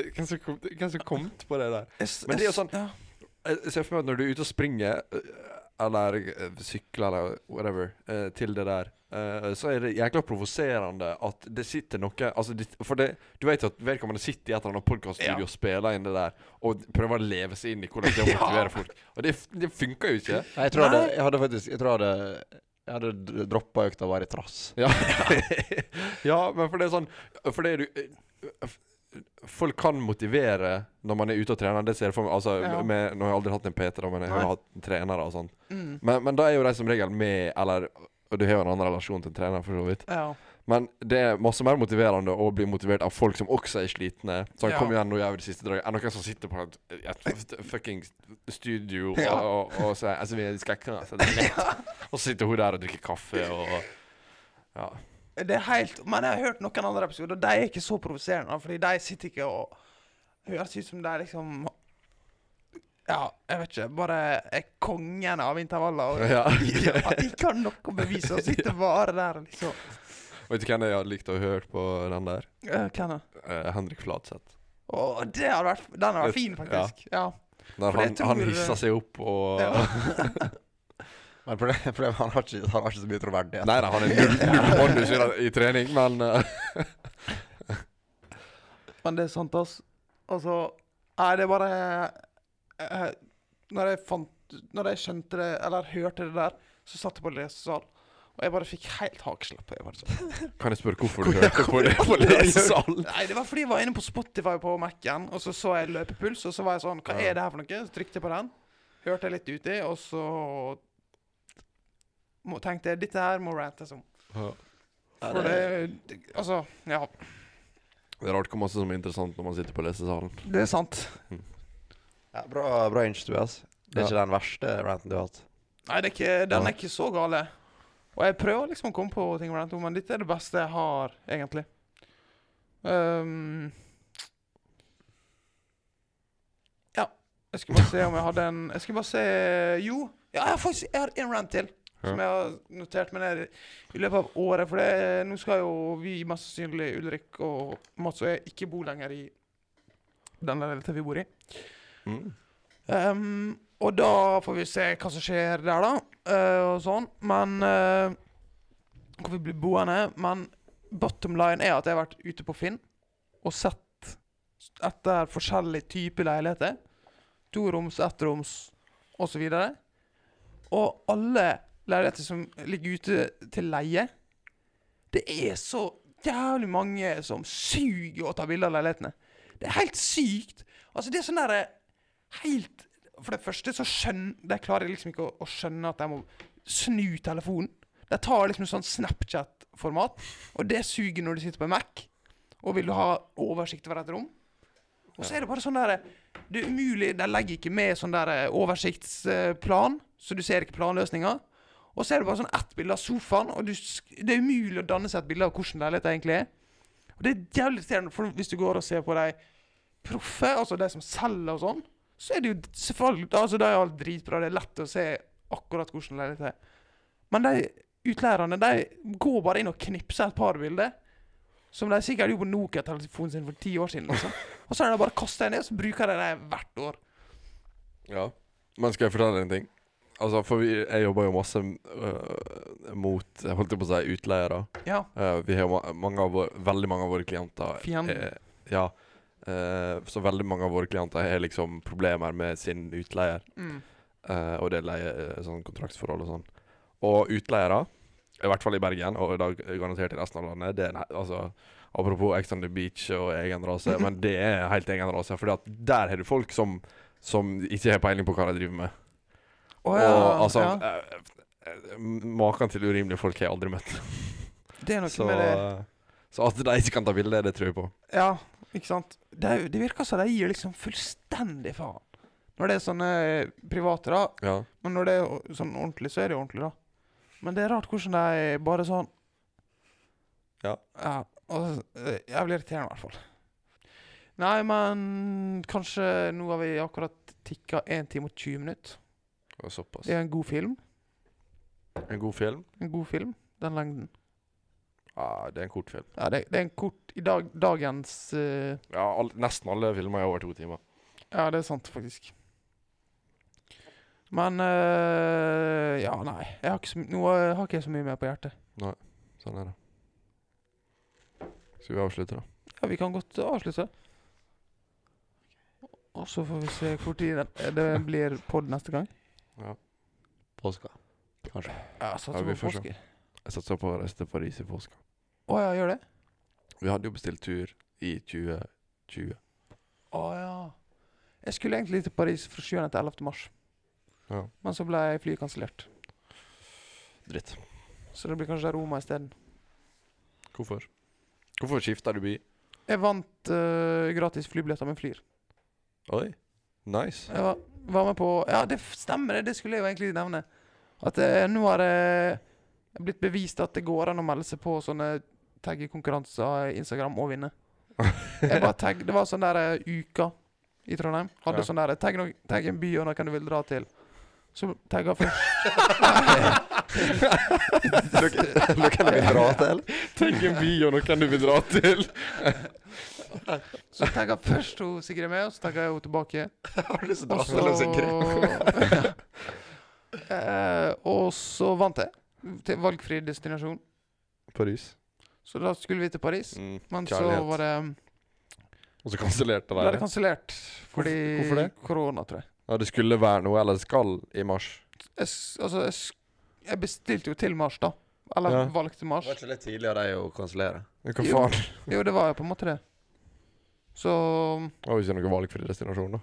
liksom. Det- Hvem som kom, hvem som kom på det der? Jeg- Men det er jeg- jo sånn- ja. Jeg jeg ser for meg at når du er ute og springer, øh, eller øh, sykler eller whatever, øh, til det der, øh, så er det jækla provoserende at det sitter noe altså det, For det, du vet at vedkommende sitter i et eller annet podkaststudio Ja. og spiller inn det der, og prøver å leve seg inn i hvordan det er å motivere folk. Og det, f- det funker jo ikke. Nei, jeg tror jeg hadde, jeg hadde faktisk Jeg tror jeg hadde, jeg hadde droppa økta bare i trass. Ja. ja, men for det er sånn For det er du f- Folk kan motivere når man er ute og trener. Det ser jeg for meg Altså, Ja. med, Nå har jeg aldri hatt en PT, da, men jeg har hatt trenere og sånn. Mm. Men, men da er jo de som regel med Eller og du har jo en annen relasjon til en trener, for så vidt. Ja. Men det er masse mer motiverende å bli motivert av folk som også er slitne. Sånn, Ja. kom igjen, nå gjør vi det siste draget. Er det noen som sitter på et, et f- fucking studio og, Ja. og, og sier Altså, vi skal ikke altså, det er lett. Og så sitter hun der og drikker kaffe og Ja. Det er helt Men jeg har hørt noen andre episoder, og de er ikke så provoserende. Fordi de sitter ikke og høres ut som de liksom Ja, jeg vet ikke. Bare er kongen av intervaller. Og, Ja. ja, de kan noe å bevise og sitter bare der og liksom Vet du hvem jeg hadde likt å høre på den der? Eh, Hvem er Eh, Henrik Fladseth. Å, det hadde vært, den hadde vært fin, Ja. faktisk. Ja. Når For jeg han, han tror- hisser seg opp og Ja. Men problemet problemet er han har ikke, han har ikke så mye troverdighet. Nei da, han er null, null manus i, i trening, men eh, Men det er sant, ass. Altså Nei, det er bare eh, når, jeg fant, når jeg skjønte det, eller hørte det der, så satt jeg på lesesal, og jeg bare fikk helt hakeslepp. og Jeg bare sånn. Kan jeg spørre hvorfor du hørte på det på lesesalen? Nei, det var fordi jeg var inne på Spotify på Mac-en, og så så jeg løpepuls, og så var jeg sånn Hva er det her for noe? Så trykte jeg på den, hørte jeg litt uti, og så må, tenkte jeg dette her må rantes om. Ja. For det, det Altså, ja. Det er rart hvor masse som er interessant når man sitter på lesesalen. Det er sant. Ja, bra bra inch, Tobias. Det er ikke den verste ranten du har hatt. Nei, det er ikke, den er ikke så gale. Og jeg prøver liksom å komme på ting, med den to, men dette er det beste jeg har, egentlig. Ehm, ja. Jeg skulle bare se om jeg hadde en Jeg skulle bare se Jo, ja, jeg har faktisk jeg har en rant til. Som jeg har notert meg ned i- i løpet av året. For det, nå skal jo vi mest sannsynlig, Ulrik og Mats og jeg, ikke bo lenger i den leiligheten vi bor i. Mm. Ehm, og da får vi se hva som skjer der, da. eh, og sånn. Men eh, Hvor vi blir boende. Men bottom line er at jeg har vært ute på Finn og sett etter forskjellige typer leiligheter. Toroms, ettroms osv. Og alle leiligheter som ligger ute til leie. Det er så jævlig mange som suger å ta bilder av leilighetene. Det er helt sykt. Altså, det er sånn derre Helt For det første så skjønner De klarer liksom ikke å, å skjønne at de må snu telefonen. De tar liksom sånn Snapchat-format, og det suger når du sitter på en Mac og vil du ha oversikt over et rom. Og så er det bare sånn derre Det er umulig, de legger ikke med sånn der eh, oversiktsplan, så du ser ikke planløsninga. Og så er det bare sånn ett bilde av sofaen, og du, sk- det er umulig å danne seg et bilde av hvordan leiligheten egentlig er. Og det er jævlig irriterende, for hvis du går og ser på de proffe, altså de som selger og sånn, så er det jo selvfølgelig Altså, de er alt dritbra, det er lett å se akkurat hvordan leiligheten er. Men de utleierne, de går bare inn og knipser et par bilder. Som de sikkert gjorde på Nokia-telefonen sin for ti år siden. Liksom. Og så har de bare kasta det ned, og så bruker de det hvert år. Ja. Men skal jeg fortelle deg en ting? Altså, for vi, jeg jobber jo masse øh, mot Jeg holdt på å si utleiere. Ja. Eh, vi har jo ma- mange av våre, veldig mange av våre klienter Fienden. er- Eh, Ja. eh, så veldig mange av våre klienter har liksom problemer med sin utleier. Mm. eh, og det er leie, sånn kontraktsforhold og sånn. Og utleiere, i hvert fall i Bergen, og i dag garantert i resten av landet det er, en he- altså, Apropos Ex on the Beach og egen rase, men det er helt egen rase. For der har du folk som, som ikke har peiling på hva de driver med. Å og altså ja. eh, eh, Maken til urimelige folk har jeg aldri møtt. Det er noe Så, med det så at de ikke kan ta bilde, det tror jeg på. Ja, ikke sant? Det, er jo- det virker som de gir liksom fullstendig faen. Når det er sånne eh, private, da. Ja. Men når det er o- sånn ordentlig, så er det jo ordentlig, da. Men det er rart hvordan de bare sånn Ja. ja og, eh, jævlig irriterende, i hvert fall. Nei, men kanskje nå har vi akkurat tikka 1 time og 20 minutter. Og såpass. Det er en god film. En god film? En god film, den lengden. Ja, det er en kort film. Ja, det, det er en kort I dag, dagens eh, Ja, all, Nesten alle filmer er over to timer. Ja, det er sant, faktisk. Men eh, Ja, nei. Jeg har ikke så, my- nå eh, har ikke jeg så mye mer på hjertet. Sånn er det. Skal vi avslutte, da? Ja, Vi kan godt avslutte. Og så får vi se hvor tid det- det blir pod neste gang. Påska. Kanskje. Ja, satser Ja, vi på får se. påske. Jeg satser på å reise til Paris i påska. Å ja, gjør det? Vi hadde jo bestilt tur i 2020. Å ja. Jeg skulle egentlig til Paris fra 7. til 11. mars, Ja. men så ble flyet kansellert. Dritt. Så det blir kanskje Roma isteden. Hvorfor? Hvorfor skifter du by? Jeg vant eh, gratis flybilletter med Flyr. Oi. Nice. Jeg var, var med på Ja, det f- stemmer, det. Det skulle jeg jo egentlig nevne. At eh, nå har det blitt bevist at det går an å melde seg på sånne taggekonkurranser i Instagram og vinne. Jeg bare tagg, Det var sånn der eh, uka i Trondheim. Hadde Ja. sånn der tagg, noen- tagg en by og noen du vil dra til. Så tagga først Kan vi dra til? Tenk en by og noen du vil dra til! Så tagga først hun Sigrid med, og så tagga jeg henne tilbake. Har du lyst til å Og dra til Los Angeles? så Eh, Og så vant jeg. Til valgfri destinasjon. Paris. Så da skulle vi til Paris. Mm. Men så Kjærlighet. var det Og så kansellerte ble de det det. kansellert fordi hvorfor det? korona, tror jeg. Ja, det skulle være noe, eller det skal, i mars. Jeg, s- altså, jeg, s- jeg bestilte jo til mars, da. Eller Ja. valgte mars. Var ikke litt tidlig av deg å kansellere? Men hva Jo. faen? Jo, det var jo på en måte det. Så Det var jo ikke noe valgfri destinasjon, da.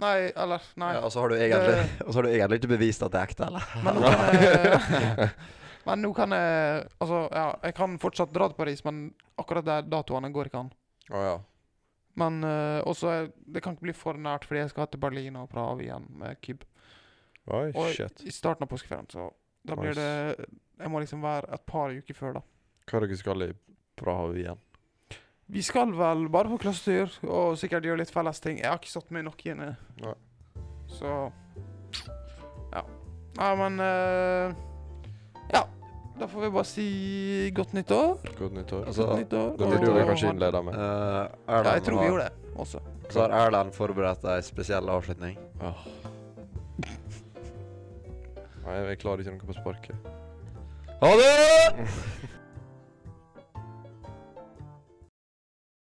Nei, eller Nei. Ja, og, så har du egentlig, og så har du egentlig ikke bevist at det er ekte, eller? Men nå kan jeg Men nå kan jeg Altså, ja, jeg kan fortsatt dra til Paris, men akkurat de datoene går ikke an. Å ja. Men øh, også er- Det kan ikke bli for nært, fordi jeg skal til Berlin og Praha igjen med Kyb. Oi, Og shit. i starten av påskeferien, så da blir Nice. det Jeg må liksom være et par uker før, da. Hva er det dere skal i Praha igjen? Vi skal vel bare på klassetur og sikkert gjøre litt felles ting. Jeg har ikke satt meg nok inn i det. Nei. Så Ja. Nei, men eh, Ja. Da får vi bare si godt nytt år. Godt nyttår. Altså, godt nytt år. det burde og- vi kanskje innlede med. Eh, Ja, jeg Erlend tror vi har- gjorde det også. Så har Erlend forberedt ei spesiell avslutning. Nei, jeg klarer ikke noe på sparket. Ha det!